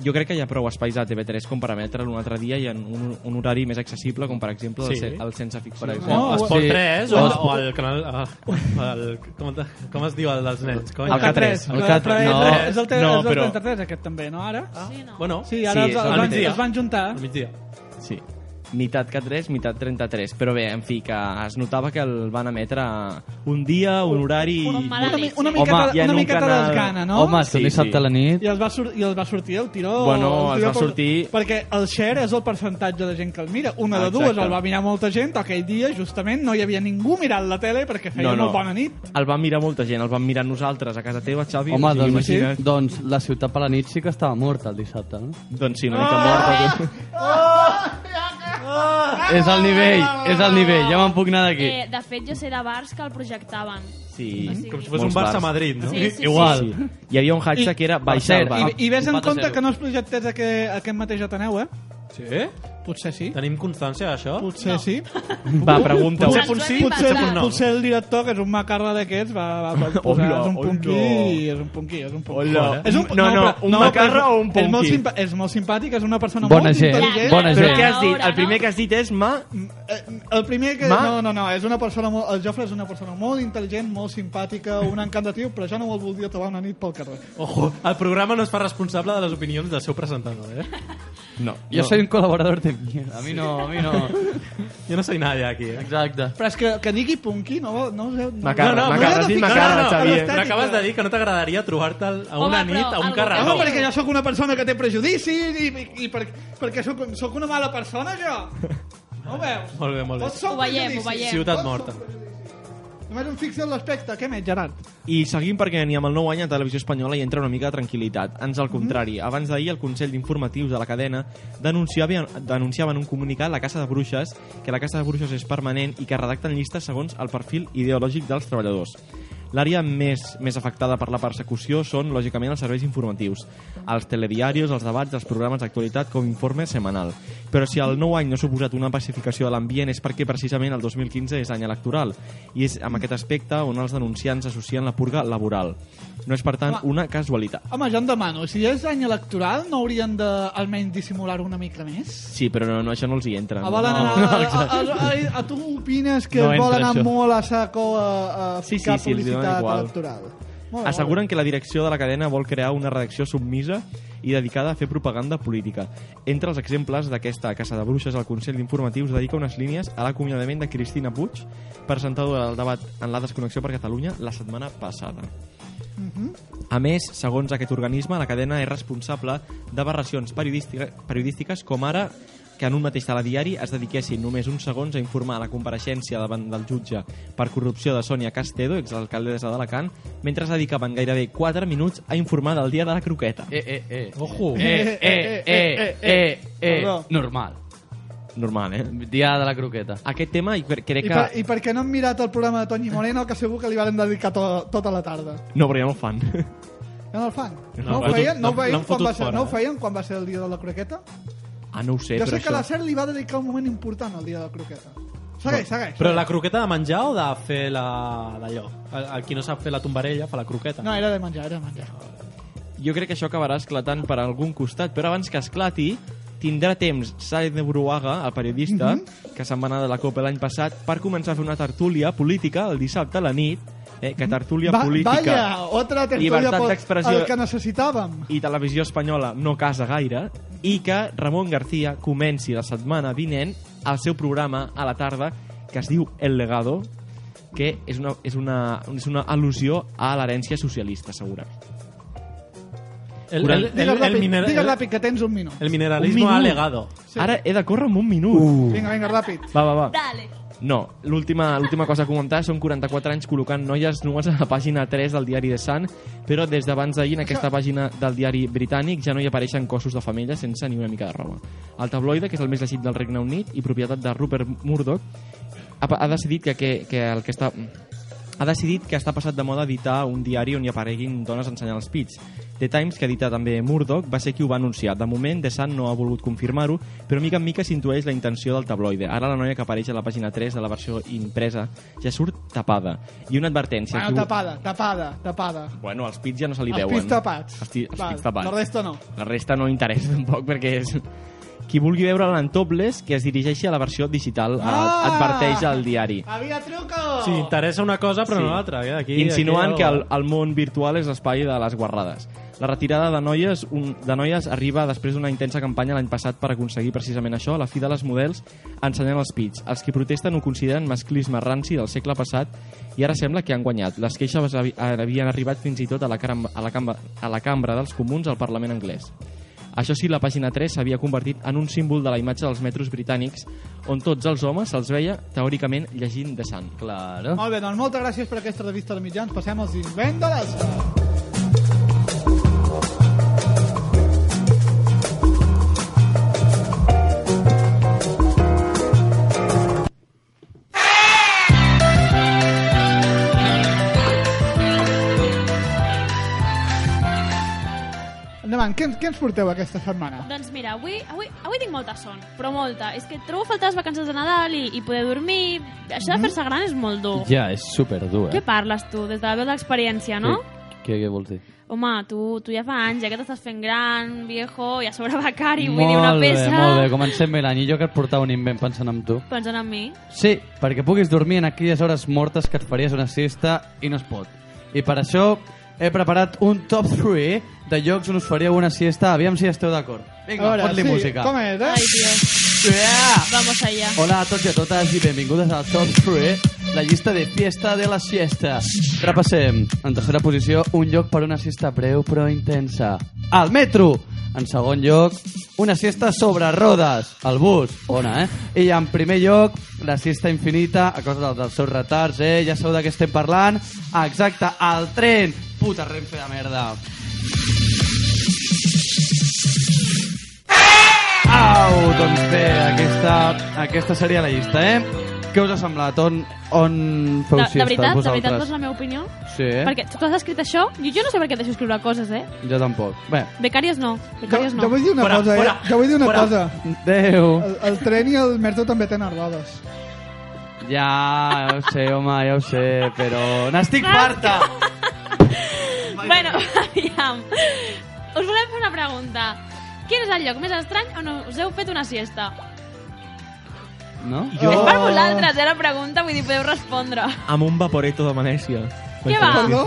Speaker 3: Jo crec que hi ha prou espais a TV3 com per emetre'l un altre dia i en un, un horari més accessible, com per exemple el,
Speaker 2: Sí.
Speaker 3: ce- el Sense Fix, per
Speaker 2: Sí,
Speaker 3: exemple.
Speaker 2: no, Esport
Speaker 3: Sí.
Speaker 2: 3 o, o el canal... El, el, com, com es diu el dels nens? Com
Speaker 3: El K3.
Speaker 1: El
Speaker 2: K3.
Speaker 1: K3. No, és el, te-
Speaker 2: no,
Speaker 1: és el
Speaker 2: però...
Speaker 1: 33 aquest també, no? Ara? Ah. Sí, no.
Speaker 2: Bueno,
Speaker 1: sí ara
Speaker 3: sí,
Speaker 1: els,
Speaker 3: és
Speaker 1: els,
Speaker 3: el
Speaker 1: van,
Speaker 3: migdia.
Speaker 1: es van juntar.
Speaker 2: Al migdia.
Speaker 3: Sí. Mitat K3, mitat 33. Però bé, en fi, que es notava que el van emetre un dia, un horari... i-
Speaker 1: Una, mi- una miqueta,
Speaker 3: Home, i en
Speaker 1: una
Speaker 3: un
Speaker 1: miqueta
Speaker 3: canal-
Speaker 1: d'esgana, no?
Speaker 3: Home, és que un Sí, dissabte sí. a la nit-
Speaker 1: I els, va sur I els va sortir el tiró...
Speaker 3: Bueno,
Speaker 1: el tiró
Speaker 3: els va
Speaker 1: pel-
Speaker 3: sortir-
Speaker 1: Perquè el share és el percentatge de gent que el mira. Una
Speaker 3: Ah,
Speaker 1: de dues
Speaker 3: exacte.
Speaker 1: el va mirar molta gent, aquell dia justament no hi havia ningú mirant la tele perquè feia molt bona nit.
Speaker 3: El van mirar molta gent, el van mirar nosaltres a casa teva, Xavi.
Speaker 7: Home,
Speaker 3: o sigui,
Speaker 7: doncs,
Speaker 3: imagina't.
Speaker 7: doncs la ciutat per la nit sí que estava morta el dissabte, no?
Speaker 3: Doncs sí, una mica morta.
Speaker 7: És el nivell, és el nivell, ja me'n puc anar d'aquí.
Speaker 4: Eh, de fet, jo sé de bars que el projectaven.
Speaker 3: Sí.
Speaker 2: Com si fos
Speaker 3: Molts
Speaker 2: un Barça
Speaker 3: bars.
Speaker 2: Madrid, no?
Speaker 4: Sí, sí, sí.
Speaker 3: Igual. Hi havia un hashtag
Speaker 1: I-
Speaker 3: que era baixar el bar.
Speaker 1: I, i ves en compte que no es projectés a que, a aquest mateix Ateneu, eh?
Speaker 2: Sí?
Speaker 1: Potser sí.
Speaker 2: Tenim constància d'això?
Speaker 1: Potser no. sí.
Speaker 2: Va, pregunta-ho.
Speaker 1: Potser,
Speaker 2: Ens ho hem
Speaker 1: potser,
Speaker 2: inventat.
Speaker 1: potser,
Speaker 2: Potser no.
Speaker 1: potser el director, que és un macarra d'aquests, va, va, va posar...
Speaker 2: Hola,
Speaker 1: és un punqui,
Speaker 2: hola.
Speaker 1: és un punqui, és un punqui.
Speaker 2: Hola.
Speaker 1: És un,
Speaker 2: No, no,
Speaker 1: però-
Speaker 2: un
Speaker 1: però és-
Speaker 2: macarra o un
Speaker 1: És molt,
Speaker 2: punqui?
Speaker 1: simpa, és molt simpàtic, és una persona
Speaker 2: Bona
Speaker 1: molt
Speaker 2: gent,
Speaker 1: intel·ligent.
Speaker 2: bona Però gent. què has dit?
Speaker 3: El primer que has dit és ma...
Speaker 1: El primer que...
Speaker 3: Ma?
Speaker 1: No, no, no, és una persona molt... El Jofre és una persona molt intel·ligent, molt simpàtica, un encantatiu, però jo no el voldria trobar una nit pel carrer.
Speaker 2: Ojo, el programa no es fa responsable de les opinions del seu presentador, eh?
Speaker 7: No. Jo soy un col·laborador de mierda. A mi no, a mi no.
Speaker 2: Jo no soy nadie aquí, eh?
Speaker 7: Exacte.
Speaker 1: Però és que, que digui punqui, no, no, no, no
Speaker 2: Macarra,
Speaker 1: no,
Speaker 2: macarra, has dit macarra, Xavier.
Speaker 1: Però
Speaker 2: M'acabes de dir que no t'agradaria trobar-te'l a una nit a un
Speaker 1: No,
Speaker 2: carreró.
Speaker 1: perquè jo sóc una persona que té prejudicis i, i, i per, perquè sóc, sóc una mala persona, jo. No ho veus?
Speaker 2: Molt bé, molt bé.
Speaker 1: Tots són
Speaker 4: Ho veiem,
Speaker 1: prejudicis.
Speaker 4: ho veiem.
Speaker 2: Ciutat morta.
Speaker 1: Només em fixo en l'aspecte. Què més, Gerard?
Speaker 3: I seguim perquè ni amb el nou any a Televisió Espanyola hi entra una mica de tranquil·litat. Ans al contrari, abans d'ahir el Consell d'Informatius de la cadena denunciava, denunciava en un comunicat la Casa de Bruixes, que la Casa de Bruixes és permanent i que redacten llistes segons el perfil ideològic dels treballadors. L'àrea més, més afectada per la persecució són, lògicament, els serveis informatius, els telediaris, els debats, els programes d'actualitat com informe setmanal. Però si el nou any no ha suposat una pacificació de l'ambient és perquè precisament el 2015 és any electoral i és amb aquest aspecte on els denunciants associen la purga laboral. No és, per tant, una casualitat.
Speaker 1: Home, jo em demano, si és any electoral, no haurien de almenys dissimular una mica més?
Speaker 3: Sí, però no, no això no els hi entra.
Speaker 1: Ah, volen anar...
Speaker 3: no,
Speaker 1: a,
Speaker 3: no,
Speaker 1: a, a,
Speaker 3: exacte.
Speaker 1: a, a, tu opines que
Speaker 3: No
Speaker 1: no vol
Speaker 3: entra
Speaker 1: anar
Speaker 3: això.
Speaker 1: molt a saco a, a
Speaker 3: Sí, sí,
Speaker 1: ficar
Speaker 3: sí, els dona
Speaker 1: publicitat
Speaker 3: igual.
Speaker 1: electoral? Molt bé, molt bé.
Speaker 3: Asseguren que la direcció de la cadena vol crear una redacció submisa i dedicada a fer propaganda política. Entre els exemples d'aquesta Casa de Bruixes, el Consell d'Informatius dedica unes línies a l'acomiadament de Cristina Puig, presentadora del debat en la desconnexió per Catalunya la setmana passada. A més, segons aquest organisme, la cadena és responsable d'aberracions periodística- periodístiques com ara que en un mateix telediari es dediquessin només uns segons a informar la compareixença davant del jutge per corrupció de Sònia Castedo, exalcaldessa d'Alacant, mentre es dedicaven gairebé 4 minuts a informar del dia de la croqueta.
Speaker 7: Eh, eh, eh.
Speaker 2: Ojo.
Speaker 7: Eh, eh, eh, eh, eh, eh.
Speaker 3: Perdó.
Speaker 7: Normal.
Speaker 3: Normal, eh?
Speaker 7: Dia de la croqueta.
Speaker 3: Aquest tema i crec
Speaker 1: I,
Speaker 3: que...
Speaker 1: per, I per què no han mirat el programa de Toni Moreno, que segur que li van dedicar to, tota la tarda?
Speaker 3: No, però ja no ho fan.
Speaker 1: Ja no el fan?
Speaker 3: No,
Speaker 1: No,
Speaker 3: no,
Speaker 1: ho feien, no, ho
Speaker 3: no,
Speaker 1: feien
Speaker 3: no
Speaker 1: quan
Speaker 3: han fotut
Speaker 1: va ser,
Speaker 3: fora,
Speaker 1: no ho
Speaker 3: eh?
Speaker 1: feien quan va ser el dia de la croqueta?
Speaker 3: Ah, no ho sé,
Speaker 1: jo
Speaker 3: però
Speaker 1: sé que
Speaker 3: això...
Speaker 1: la SER li va dedicar un moment important al dia de la croqueta. Segueix, segueix.
Speaker 2: Però la croqueta de menjar o de fer la- d'allò? El, el qui no sap fer la tombarella fa la croqueta.
Speaker 1: No, eh, era de menjar, era de menjar.
Speaker 3: Jo crec que això acabarà esclatant per algun costat, però abans que esclati tindrà temps Said de Buruaga, el periodista,
Speaker 1: Mhm.
Speaker 3: que se'n va anar de la Copa l'any passat, per començar a fer una tertúlia política el dissabte a la nit, eh, que tertúlia
Speaker 1: Va,
Speaker 3: política...
Speaker 1: Vaya, otra tertúlia
Speaker 3: Llibertat
Speaker 1: pot,
Speaker 3: d'expressió
Speaker 1: el que necessitàvem.
Speaker 3: i televisió espanyola no casa gaire, i que Ramon García comenci la setmana vinent el seu programa a la tarda que es diu El Legado, que és una, és una, és una al·lusió a l'herència socialista, segurament.
Speaker 2: El-
Speaker 1: Quaranta-
Speaker 2: el-
Speaker 1: Digue'l,
Speaker 2: el- el
Speaker 1: Lapi,
Speaker 2: minera-
Speaker 1: digue'l, Lapi, que tens un minut.
Speaker 2: El mineralismo
Speaker 3: Un minut.
Speaker 2: alegado.
Speaker 3: Ara he de córrer amb un minut.
Speaker 1: Vinga, vinga, ràpid.
Speaker 3: Uh. Va, va, va.
Speaker 1: Dale.
Speaker 3: No, l'última l'última cosa a comentar són 44 anys col·locant noies nues a la pàgina 3 del diari de Sun, però des d'abans d'ahir en aquesta pàgina del diari britànic ja no hi apareixen cossos de femelles sense ni una mica de roba. El tabloide, que és el més llegit del Regne Unit i propietat de Rupert Murdoch, ha, ha decidit que, que, que el que està ha decidit que està passat de moda editar un diari on hi apareguin dones ensenyant els pits. The Times, que edita també Murdoch, va ser qui ho va anunciar. De moment, The Sun no ha volgut confirmar-ho, però mica en mica s'intueix la intenció del tabloide. Ara la noia que apareix a la pàgina 3 de la versió impresa ja surt tapada. I una advertència.
Speaker 1: Bueno,
Speaker 3: qui ho-
Speaker 1: Ah, tapada, tapada, tapada.
Speaker 3: Bueno, els pits ja no se li
Speaker 1: Els
Speaker 3: veuen.
Speaker 1: pits tapats.
Speaker 3: Els, ti- els
Speaker 1: Val,
Speaker 3: pits tapats.
Speaker 1: la resta no.
Speaker 3: La resta no interessa tampoc perquè és... Qui vulgui veure l'Antobles, que es dirigeixi a la versió digital, ah! adverteix al diari.
Speaker 1: Havia truco!
Speaker 2: Sí, interessa una cosa però no
Speaker 3: Sí.
Speaker 2: l'altra. eh? Aquí,
Speaker 3: Insinuant
Speaker 2: aquí,
Speaker 3: que el, el món virtual és l'espai de les guarrades. La retirada de noies, un, de noies arriba després d'una intensa campanya l'any passat per aconseguir precisament això, la fi de les models ensenyant els pits. Els que protesten ho consideren masclisme ranci del segle passat i ara sembla que han guanyat. Les queixes havi- havien arribat fins i tot a la, cram, a la, cambra, a la cambra dels comuns al Parlament anglès. Això sí, la pàgina 3 s'havia convertit en un símbol de la imatge dels metros britànics on tots els homes se'ls veia, teòricament, llegint de sant. Claro.
Speaker 1: Molt bé, doncs moltes gràcies per aquesta revista de mitjans. Passem als invendores. Endavant, què, ens- què ens porteu aquesta setmana?
Speaker 4: Doncs mira, avui, avui, avui tinc molta son, però molta. És que trobo a faltar les vacances de Nadal i, i poder dormir... Això de fer-se gran és molt dur.
Speaker 7: Ja, és superdur,
Speaker 4: Què
Speaker 7: eh?
Speaker 4: parles tu, des de la veu de l'experiència, no?
Speaker 7: Què, què vols dir?
Speaker 4: Home, tu, tu ja fa anys, ja que t'estàs fent gran, viejo, i a sobre becari, vull
Speaker 7: molt
Speaker 4: dir una peça...
Speaker 7: bé, molt bé, comencem bé l'any. I jo que et portava un invent pensant en tu.
Speaker 4: Pensant en mi.
Speaker 7: Sí, perquè puguis dormir en aquelles hores mortes que et faries una siesta i no es pot. I per això he preparat un top 3 de llocs on us faríeu una siesta. Aviam si esteu d'acord.
Speaker 1: A
Speaker 7: Vinga,
Speaker 1: veure,
Speaker 7: fot-li
Speaker 1: sí,
Speaker 7: música.
Speaker 1: Com és, eh?
Speaker 4: Ai, Dios. Vamos allá.
Speaker 7: Hola a tots i a totes i benvingudes al Top 3, la llista de fiesta de la siesta. Repassem. En tercera posició, un lloc per una siesta breu però intensa. Al metro! En segon lloc, una siesta sobre rodes, al bus, bona, eh? I en primer lloc, la siesta infinita, a causa del- dels seus retards, eh? Ja sabeu de què estem parlant? Exacte, al tren! Puta Renfe de merda! Au, doncs bé, aquesta, aquesta seria la llista, eh? Què us ha semblat? On, on feu
Speaker 4: De, de
Speaker 7: siestes
Speaker 4: veritat, de
Speaker 7: vosaltres?
Speaker 4: veritat, vols la meva opinió?
Speaker 7: Sí, eh?
Speaker 4: Perquè tu has escrit això, jo, jo no sé per què et deixo escriure coses, eh?
Speaker 7: Jo tampoc. Bé,
Speaker 4: Becàries no, becàries no.
Speaker 1: Jo vull dir una cosa, eh? Jo vull dir una cosa.
Speaker 7: adeu.
Speaker 1: El, el tren i el metro també tenen rodes.
Speaker 7: Ja, ja ho sé, home, ja ho sé, però... N'estic farta!
Speaker 1: eh?
Speaker 4: Bueno, aviam. Us volem fer una pregunta. Quin és el lloc més estrany on us heu fet una siesta?
Speaker 7: No?
Speaker 4: Jo... És per
Speaker 3: Ah.
Speaker 4: vosaltres, eh, la pregunta, vull dir, podeu respondre.
Speaker 3: amb un vaporeto de Venècia.
Speaker 4: Què va? Perdó?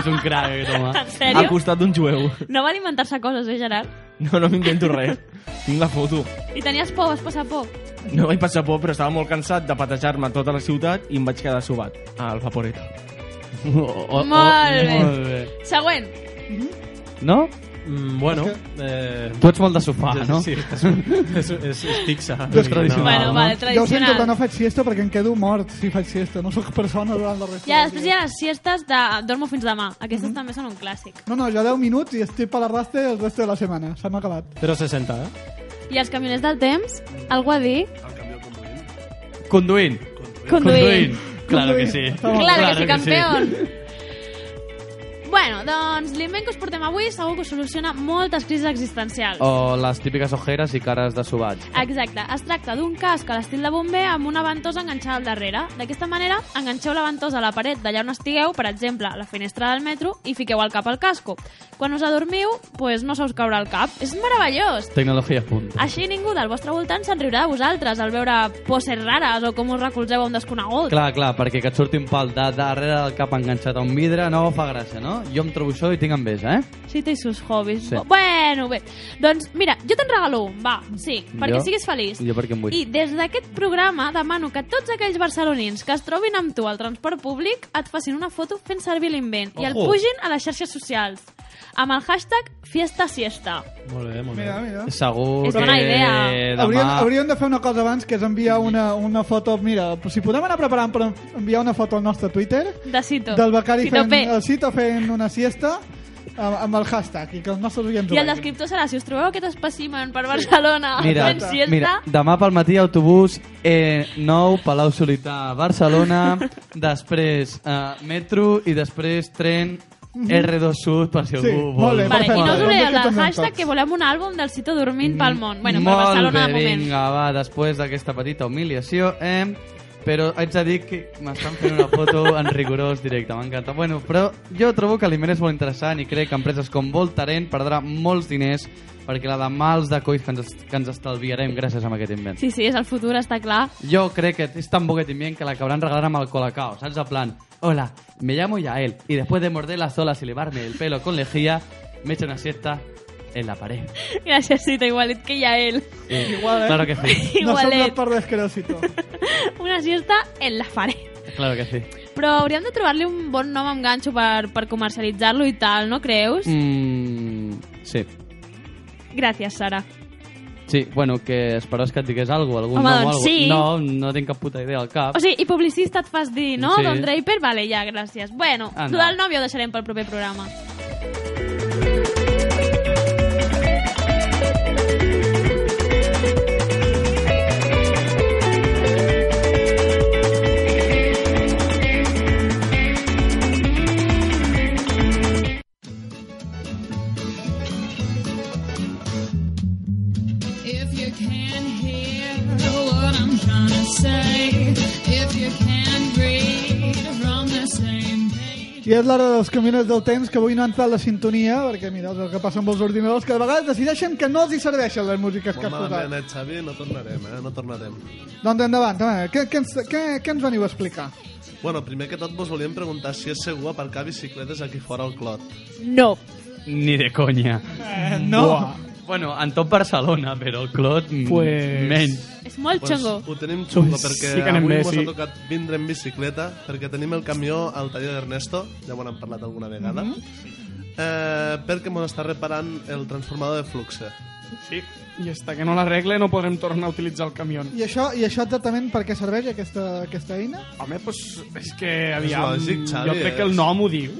Speaker 3: és un crac, aquest home.
Speaker 4: En sèrio?
Speaker 3: Al costat d'un jueu.
Speaker 4: No van inventar-se coses, eh, Gerard?
Speaker 3: No, no m'invento res. Tinc la foto.
Speaker 4: I tenies por, vas passar por.
Speaker 3: No vaig passar por, però estava molt cansat de patejar-me tota la ciutat i em vaig quedar sobat al vaporeto. Oh,
Speaker 4: oh, Molt bé. molt Següent.
Speaker 1: Mhm.
Speaker 7: No?
Speaker 2: Mm, bueno, eh...
Speaker 7: Tu ets molt de sofà,
Speaker 2: sí,
Speaker 7: Ah, no?
Speaker 2: Sí, és, és, és, és tixa.
Speaker 7: És tradicional,
Speaker 4: Bueno, no? vale,
Speaker 1: Jo ho sento,
Speaker 4: tradicional.
Speaker 1: però no faig siesta perquè em quedo mort si faig siesta. No sóc persona durant la resta.
Speaker 4: Ja, després hi ha les siestes de dormo fins demà.
Speaker 1: Mhm.
Speaker 4: Aquestes també són un clàssic.
Speaker 1: No, no, jo 10 minuts i estic per la rasta el resto de la setmana. Se m'ha acabat.
Speaker 2: Però 60, eh?
Speaker 4: I els camioners del temps, algú a dir?
Speaker 7: Conduint.
Speaker 4: Conduint.
Speaker 7: Claro que sí.
Speaker 4: Claro, que sí, campeón. Bueno, doncs l'invent que us portem avui segur que us soluciona moltes crisis existencials.
Speaker 7: O les típiques ojeres i cares de sobats.
Speaker 4: Exacte, es tracta d'un casc a l'estil de bomber amb una ventosa enganxada al darrere. D'aquesta manera, enganxeu la ventosa a la paret d'allà on estigueu, per exemple, a la finestra del metro, i fiqueu el cap al casco. Quan us adormiu, pues no se us caurà el cap. És meravellós!
Speaker 7: Tecnologia punta.
Speaker 4: Així ningú del vostre voltant s'enriurà de vosaltres al veure poses rares o com us recolzeu a un desconegut.
Speaker 7: Clar, clar, perquè que et surti un pal de darrere del cap enganxat a un vidre no fa gràcia, no? Jo em trobo això i tinc enveja, eh?
Speaker 4: Sí, té sus hobbies.
Speaker 7: Sí.
Speaker 4: Sí. Bueno, bé. Doncs mira, jo te'n regalo un, va, sí, perquè
Speaker 7: Jo-
Speaker 4: siguis feliç.
Speaker 7: jo perquè em vull.
Speaker 4: I des d'aquest programa demano que tots aquells barcelonins que es trobin amb tu al transport públic et facin una foto fent servir l'invent i el
Speaker 7: Ojo.
Speaker 4: pugin a les xarxes socials. amb el hashtag Fiesta Siesta.
Speaker 2: Molt bé, molt
Speaker 1: Mira, mira.
Speaker 7: Segur
Speaker 4: És bona
Speaker 7: que
Speaker 4: idea.
Speaker 7: Eh, demà...
Speaker 1: Hauríem, hauríem de fer una cosa abans, que és enviar una, una foto... Mira, si podem anar preparant per enviar una foto al nostre Twitter
Speaker 4: De Cito.
Speaker 1: del becari
Speaker 4: Cito
Speaker 1: fent,
Speaker 4: P.
Speaker 1: el Cito fent una siesta amb, amb el hashtag i que els nostres
Speaker 4: I
Speaker 1: oients
Speaker 4: el
Speaker 1: ho vegin.
Speaker 4: descriptor serà, si us trobeu aquest espècimen per Barcelona
Speaker 7: Mira,
Speaker 4: fent siesta,
Speaker 7: mira, demà pel matí autobús E9, Palau Solità, Barcelona, després eh, metro i després tren R2 Sud per si
Speaker 1: Mhm. Sí,
Speaker 7: algú
Speaker 1: molt
Speaker 7: vol.
Speaker 1: bé,
Speaker 4: Vale, I no us oblideu
Speaker 1: Doncs
Speaker 4: del
Speaker 1: aquí
Speaker 4: hashtag
Speaker 1: tots.
Speaker 4: que volem un àlbum del Cito dormint pel món. Bueno, per
Speaker 7: Mm. Molt
Speaker 4: Barcelona,
Speaker 7: bé,
Speaker 4: de moment.
Speaker 7: vinga, va, després d'aquesta petita humiliació, eh? Però haig de dir que m'estan fent una foto en rigorós directe, m'encanta. Bueno, però jo trobo que l'Imer és molt interessant i crec que empreses com Voltaren perdrà molts diners perquè la de mals de colls que ens, es- que ens estalviarem gràcies a aquest invent.
Speaker 4: Sí, sí, és el futur, està clar.
Speaker 7: Yo creo que es tan boquetín bien que la acabarán regalar al colacao, ¿sabes? A plan, hola, me llamo Yael y después de morder las olas y levarme el pelo con lejía, me echo una siesta en la pared.
Speaker 4: Gràcies, Cito, igualit que ja ell.
Speaker 7: Eh,
Speaker 1: Igual, eh?
Speaker 7: Claro que sí,
Speaker 1: No som
Speaker 4: Igualet.
Speaker 1: dos per descrèsito.
Speaker 4: eh, Una siesta en la paret.
Speaker 7: claro que sí.
Speaker 4: Però hauríem de trobar-li un bon nom amb ganxo per, per comercialitzar-lo i tal, no creus?
Speaker 7: Mm, sí,
Speaker 4: Gràcies, Sara.
Speaker 7: sí, bueno, que esperaves que et digués algo, algun
Speaker 4: Home,
Speaker 7: nom o
Speaker 4: doncs
Speaker 7: algo.
Speaker 4: sí.
Speaker 7: No, no tinc cap puta idea al cap.
Speaker 4: O sigui, i publicista et fas dir, no?
Speaker 7: Ah. Sí.
Speaker 4: Don Draper? Vale, ja, gràcies. Bueno,
Speaker 7: Anda.
Speaker 4: tu del nom ja ho deixarem pel proper programa.
Speaker 13: If you can't hear what I'm trying to say, if you can't read from the same
Speaker 1: I és l'hora dels camioners del temps, que avui no ha entrat la sintonia, perquè mira, és el que passa amb els ordinadors, que de vegades decideixen que no els hi serveixen les músiques que
Speaker 14: Molt
Speaker 1: has posat.
Speaker 14: malament, eh, Xavi, no tornarem, eh? No tornarem.
Speaker 1: Doncs endavant, endavant. Què, què, ens, què, què ens veniu a explicar?
Speaker 14: Bueno, primer que tot vos volíem preguntar si és segur aparcar bicicletes aquí fora al clot.
Speaker 4: No.
Speaker 7: Ni de conya.
Speaker 1: Eh, no.
Speaker 7: Buah. Bueno, en tot Barcelona, però el Clot mm,
Speaker 14: Pues-
Speaker 7: menys.
Speaker 4: És molt
Speaker 14: pues,
Speaker 4: xungo.
Speaker 14: Ho tenim xungo,
Speaker 7: Pues
Speaker 14: perquè
Speaker 7: sí que anem
Speaker 14: avui
Speaker 7: bé,
Speaker 14: mos
Speaker 7: sí.
Speaker 14: ha tocat vindre en bicicleta, perquè tenim el camió al taller d'Ernesto, ja ho n'hem parlat alguna vegada, mm -hmm. eh, perquè mos està reparant el transformador de fluxe.
Speaker 15: Sí. I està que no l'arregle no podrem tornar a utilitzar el camió.
Speaker 1: I això, I això exactament per què serveix aquesta, aquesta eina?
Speaker 15: Home, pues, és que aviam...
Speaker 14: lògic, Xavi,
Speaker 15: jo crec que el
Speaker 14: és-
Speaker 15: nom ho diu.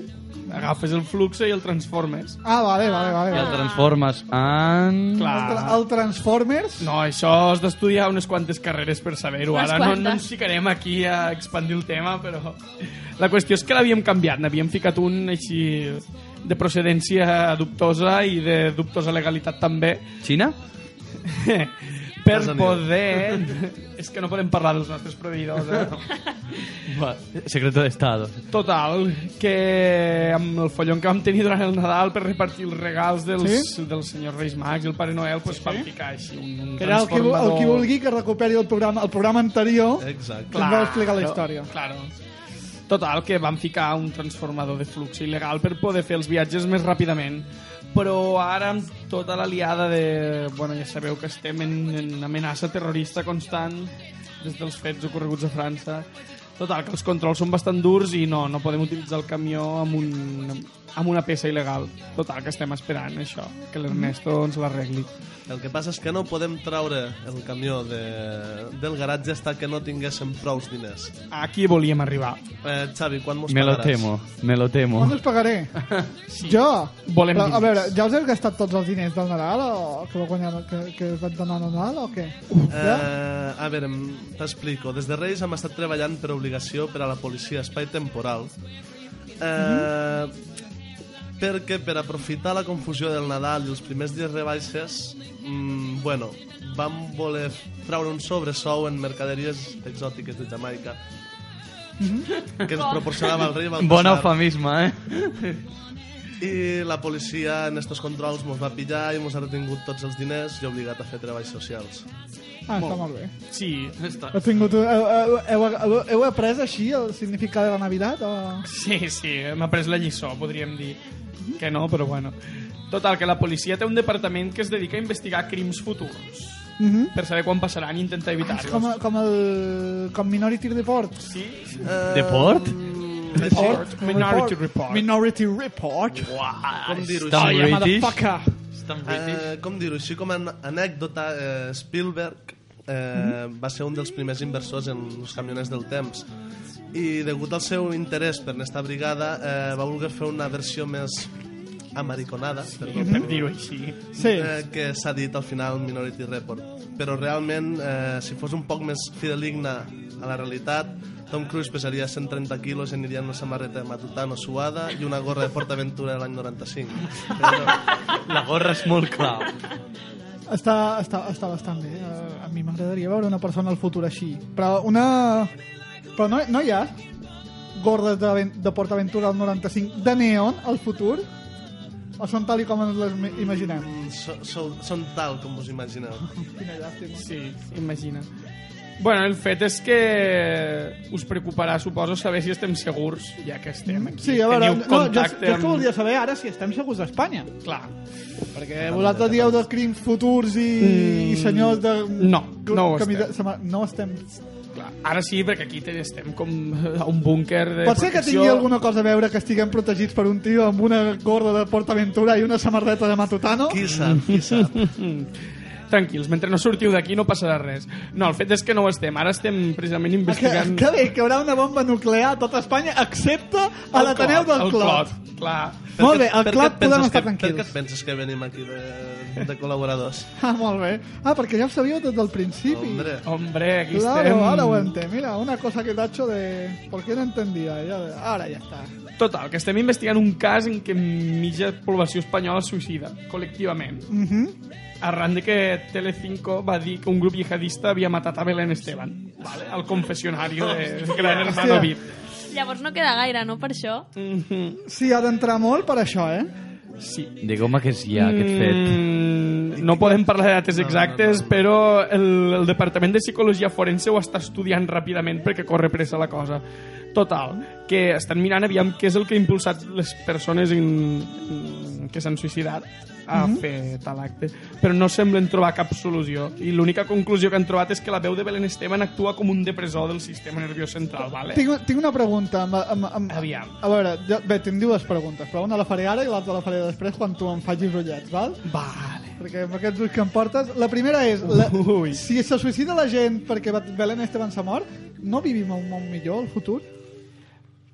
Speaker 15: Agafes el flux i el transformes.
Speaker 1: Ah, vale, vale, vale.
Speaker 7: I el
Speaker 1: vale.
Speaker 7: transformes en...
Speaker 15: Clar.
Speaker 1: El, tra el Transformers?
Speaker 15: No, això has d'estudiar unes quantes carreres per saber-ho.
Speaker 1: Unes
Speaker 15: Ara no, no
Speaker 1: quantes.
Speaker 15: ens ficarem aquí a expandir el tema, però... La qüestió és que l'havíem canviat. N'havíem ficat un així de procedència dubtosa i de dubtosa legalitat també.
Speaker 7: Xina?
Speaker 15: per
Speaker 7: Has de dir-ho.
Speaker 15: poder... és que no podem parlar dels nostres proveïdors, eh?
Speaker 7: Va, secreto d'estado.
Speaker 15: Total, que amb el follon que vam tenir durant el Nadal per repartir els regals dels, sí? dels senyors Reis Mags i el Pare Noel, doncs sí? vam picar així un, un
Speaker 1: Que era el qui, vo- el qui
Speaker 15: transformador. Eh.
Speaker 1: vulgui que recuperi el programa, el programa anterior
Speaker 14: Exacte.
Speaker 1: que ens va explicar la història.
Speaker 15: Claro. Total, que van ficar un transformador de flux il·legal per poder fer els viatges més ràpidament. Però ara, amb tota la liada de... Bueno, ja sabeu que estem en, en amenaça terrorista constant des dels fets ocorreguts a França. Total, que els controls són bastant durs i no, no podem utilitzar el camió amb, un, amb una peça il·legal. Total, que estem esperant això, que l'Ernesto ens l'arregli.
Speaker 14: El que passa és que no podem traure el camió de, del garatge hasta que no tinguéssim prous diners.
Speaker 15: Aquí volíem arribar.
Speaker 14: Eh, Xavi, quan mos
Speaker 7: Me lo
Speaker 14: pagaràs?
Speaker 7: temo, me lo temo.
Speaker 1: On us pagaré? sí. Jo?
Speaker 7: Volem
Speaker 1: Però, a
Speaker 7: diners.
Speaker 1: veure, ja us heu gastat tots els diners del Nadal o que, va guanyar, que, que us vaig donar al Nadal o què?
Speaker 14: Eh, a veure, em- t'explico. Des de Reis hem estat treballant per obligació per a la policia Espai Temporal. Eh, Perquè per aprofitar la confusió del Nadal i els primers dies rebaixes, mm, bueno, vam voler traure un sobresou en mercaderies exòtiques de Jamaica que ens proporcionava el rei Baltasar.
Speaker 7: Bon eufemisme, eh?
Speaker 14: I la policia en estos controls mos va pillar i mos ha retingut tots els diners i obligat a fer treballs socials.
Speaker 1: Ah, està molt bé.
Speaker 15: Sí, està.
Speaker 1: Heu, tingut, heu, heu, heu, heu, heu après així el significat de la Navidad? O...
Speaker 15: Sí, sí, hem après la lliçó, podríem dir. Que no, però bueno. Total, que la policia té un departament que es dedica a investigar crims futurs
Speaker 1: Mm -hmm.
Speaker 15: per saber quan passaran i intentar
Speaker 1: com,
Speaker 15: evitar-los.
Speaker 1: com el, com Minority Report.
Speaker 15: Sí.
Speaker 7: De port?
Speaker 1: Report.
Speaker 15: Minority Report.
Speaker 1: Eh, Minority Report.
Speaker 14: Com dir-ho
Speaker 1: Stan
Speaker 14: així?
Speaker 1: British. motherfucker.
Speaker 14: Eh, com dir-ho així? Com a an- anècdota, eh, Spielberg eh,
Speaker 1: Mhm.
Speaker 14: va ser un dels primers inversors en els camioners del temps i degut al seu interès per aquesta brigada eh, va voler fer una versió més americonada, perdó,
Speaker 15: Per dir-ho així. Sí.
Speaker 14: eh, que s'ha dit al final Minority Report. Però realment, eh, si fos un poc més fideligne a la realitat, Tom Cruise pesaria 130 quilos i aniria amb una samarreta de Matutano suada i una gorra de PortAventura de l'any 95.
Speaker 7: La gorra és molt clau.
Speaker 1: Està, està, està bastant bé. Eh, A mi m'agradaria veure una persona al futur així. Però una... Però no, no hi ha gordes de, ven- de PortAventura al 95 de neon al futur? O són tal i com ens les im- imaginem?
Speaker 14: So, so, són tal com us imagineu.
Speaker 1: Quina llàstima.
Speaker 15: Sí, imagina. Bueno, el fet és que us preocuparà, suposo, saber si estem segurs, ja que estem aquí.
Speaker 1: Sí, a veure,
Speaker 15: Teniu
Speaker 1: no, jo,
Speaker 15: contacte
Speaker 1: jo és que
Speaker 15: amb...
Speaker 1: volia saber ara si estem segurs d'Espanya.
Speaker 15: Clar.
Speaker 1: Perquè Eh, vosaltres dieu de crims futurs i, mm, i senyors de...
Speaker 15: No, no ho
Speaker 1: camí de-
Speaker 15: estem.
Speaker 1: sema- No estem.
Speaker 15: Clar, ara sí, perquè aquí te- estem com a un búnquer de
Speaker 1: Pot ser que
Speaker 15: protecció.
Speaker 1: tingui alguna cosa a veure que estiguem protegits per un tio amb una gorda de PortAventura i una samarreta de Matutano?
Speaker 14: Qui sap, qui sap.
Speaker 15: Tranquils, mentre no sortiu d'aquí no passarà res. No, el fet és que no ho estem. Ara estem precisament investigant...
Speaker 1: Que bé, que hi haurà una bomba nuclear a tota Espanya, excepte a
Speaker 15: El
Speaker 1: Ah, l'Ateneu
Speaker 15: Clot,
Speaker 1: del
Speaker 15: el
Speaker 1: Clot.
Speaker 15: Clot, clar.
Speaker 1: Molt
Speaker 14: Per
Speaker 1: bé,
Speaker 14: què-
Speaker 1: el
Speaker 14: per
Speaker 1: Clot
Speaker 14: què et penses
Speaker 1: podem
Speaker 14: que-
Speaker 1: estar
Speaker 14: Per què
Speaker 1: tranquils.
Speaker 14: et penses que venim aquí de, de col·laboradors?
Speaker 1: Ah, molt bé. Ah, perquè ja ho sabíeu des del principi.
Speaker 14: Hombre.
Speaker 15: Hombre, aquí
Speaker 1: claro,
Speaker 15: estem...
Speaker 1: ahora ho entenc. Mira, una cosa que Nacho de... ¿Por qué no entendía? Ya- Ahora ya está.
Speaker 15: Total, que estem investigant un cas en què mitja població espanyola es suïcida, col·lectivament.
Speaker 1: Mhm.
Speaker 15: Arran de que Telecinco va dir que un grup jihadista havia matat a Belén Esteban, vale? al confessionario de Gran Hermano
Speaker 1: Hòstia.
Speaker 15: VIP.
Speaker 4: Llavors no queda gaire, no, per això?
Speaker 1: Mm, Sí, ha d'entrar molt per això, eh?
Speaker 15: Sí.
Speaker 7: Digueu-me que és ja aquest fet.
Speaker 15: Mm, No podem parlar de dates exactes, però el, el Departament de Psicologia Forense ho està estudiant ràpidament perquè corre pressa la cosa. Total, que estan mirant aviam què és el que ha impulsat les persones en, en- que s'han suïcidat a
Speaker 1: Mhm.
Speaker 15: fer tal acte, però no semblen trobar cap solució. I l'única conclusió que han trobat és que la veu de Belén Esteban actua com un depressor del sistema nerviós central, vale?
Speaker 1: Tinc, tinc una pregunta. Amb, amb, amb,
Speaker 15: Aviam.
Speaker 1: A veure, jo, bé, tinc dues preguntes, però una la faré ara i l'altra la faré després quan tu em facis ullets, val?
Speaker 15: Vale.
Speaker 1: Perquè amb aquests ulls que em portes... La primera és, la, si se suïcida la gent perquè Belén Esteban s'ha mort, no vivim a un món millor, al futur?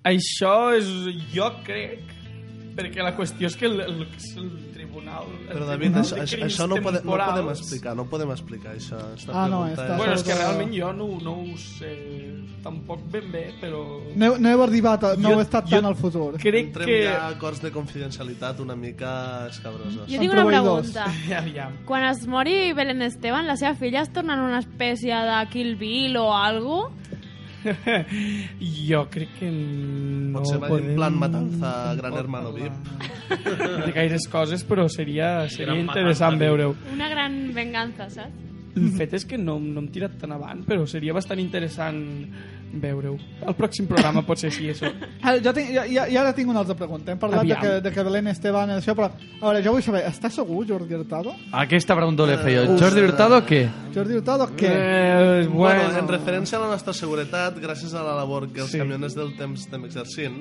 Speaker 15: Això és... jo crec perquè la qüestió és que el, el, el tribunal... El
Speaker 14: Però David,
Speaker 15: tribunal
Speaker 14: això,
Speaker 15: de
Speaker 14: això,
Speaker 15: crims
Speaker 14: això no, pode, no
Speaker 15: temporals-
Speaker 14: podem explicar, no podem explicar això. esta
Speaker 1: Ah, no,
Speaker 14: pregunta eh?
Speaker 1: està
Speaker 15: Bueno, és que realment jo no, no ho sé tampoc ben bé, però...
Speaker 1: No, he- no heu arribat, a, no
Speaker 15: Jo-
Speaker 1: heu estat
Speaker 15: jo
Speaker 1: tant al futur.
Speaker 15: crec
Speaker 14: Entrem
Speaker 15: que-
Speaker 14: ja a acords de confidencialitat una mica escabrosos.
Speaker 4: Jo tinc una
Speaker 1: proveïdors.
Speaker 4: pregunta.
Speaker 15: Aviam.
Speaker 4: Quan es mori Belén Esteban, la seva filla es torna en una espècie de Kill Bill o algo?
Speaker 15: Jo crec que no
Speaker 14: Potser va
Speaker 15: podem...
Speaker 14: en plan matanza Gran Hermano VIP.
Speaker 15: de gaires coses, però seria, seria
Speaker 14: Gran
Speaker 15: interessant
Speaker 14: matanza.
Speaker 15: veure-ho.
Speaker 4: Una gran venganza, saps?
Speaker 15: El fet és que no, no hem tirat tan avant, però seria bastant interessant veure-ho. El pròxim programa pot ser així, això.
Speaker 1: Ah, jo, tinc, jo, jo, jo ara tinc una altra pregunta. Hem parlat de
Speaker 15: Aviam.
Speaker 1: que, de que Belén Esteban... Això, però, a veure, jo vull saber, està segur Jordi Hurtado?
Speaker 7: Aquesta pregunta l'he fet jo.
Speaker 14: Eh,
Speaker 7: Jordi Hurtado, què?
Speaker 1: Jordi Hurtado, què?
Speaker 15: Eh,
Speaker 14: Bueno, en referència a la nostra seguretat, gràcies a la labor que els
Speaker 15: Sí.
Speaker 14: sí. camioners del temps estem exercint,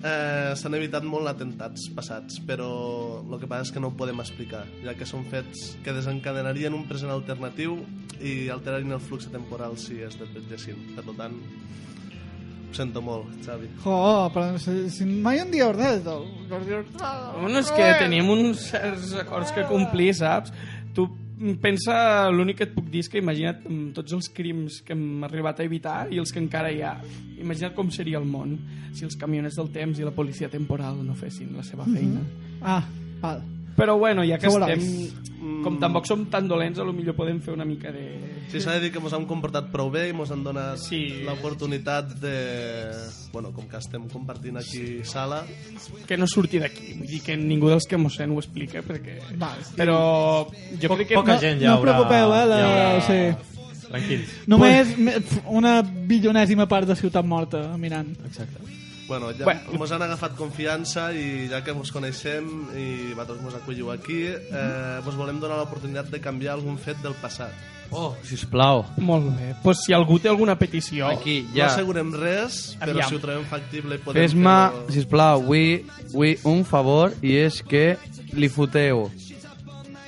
Speaker 14: eh, s'han evitat molt atentats passats, però el que passa és que no ho podem explicar, ja que són fets que desencadenarien un present alternatiu i alterarien el flux temporal si es detectessin. Per lo tant, ho sento molt, Xavi.
Speaker 1: Jo, però si, si mai en dieu res del Jordi Hurtado...
Speaker 15: Bueno, és que tenim uns certs acords que complir, saps? Tu pensa, l'únic que et puc dir és que imagina't amb tots els crims que hem arribat a evitar i els que encara hi ha. Imagina't com seria el món si els camioners del temps i la policia temporal no fessin la seva feina.
Speaker 1: Ah, val.
Speaker 15: Però bueno, ja que
Speaker 1: Segons.
Speaker 15: estem... Com tampoc som tan dolents, a lo millor podem fer una mica de...
Speaker 14: Mm. Sí, s'ha de dir que ens hem comportat prou bé i ens han donat sí. l'oportunitat de... Bueno, com que estem compartint aquí sala...
Speaker 15: que no surti d'aquí. Vull dir que ningú dels que mos sent ho explica, perquè...
Speaker 1: Val.
Speaker 15: Però jo crec que...
Speaker 2: poca gent ja
Speaker 1: no us
Speaker 2: haurà-
Speaker 1: preocupeu, eh? La,
Speaker 2: ja haurà-
Speaker 1: sí.
Speaker 2: Tranquils.
Speaker 1: Només me- pf, una bilionèsima part de Ciutat Morta, mirant.
Speaker 2: Exacte.
Speaker 14: Bueno, ja
Speaker 15: Bueno.
Speaker 14: bueno. mos han agafat confiança i ja que mos coneixem i vosaltres mos acolliu aquí, eh, vos volem donar l'oportunitat de canviar algun fet del passat.
Speaker 15: Oh,
Speaker 7: Sisplau.
Speaker 15: Molt bé. Pues si algú té alguna petició...
Speaker 7: Aquí,
Speaker 14: No assegurem res, però
Speaker 15: oh. Aviam.
Speaker 14: si ho trobem factible podem
Speaker 7: Fes-me,
Speaker 14: fer-ho.
Speaker 7: sisplau, avui, avui un favor i és que li foteu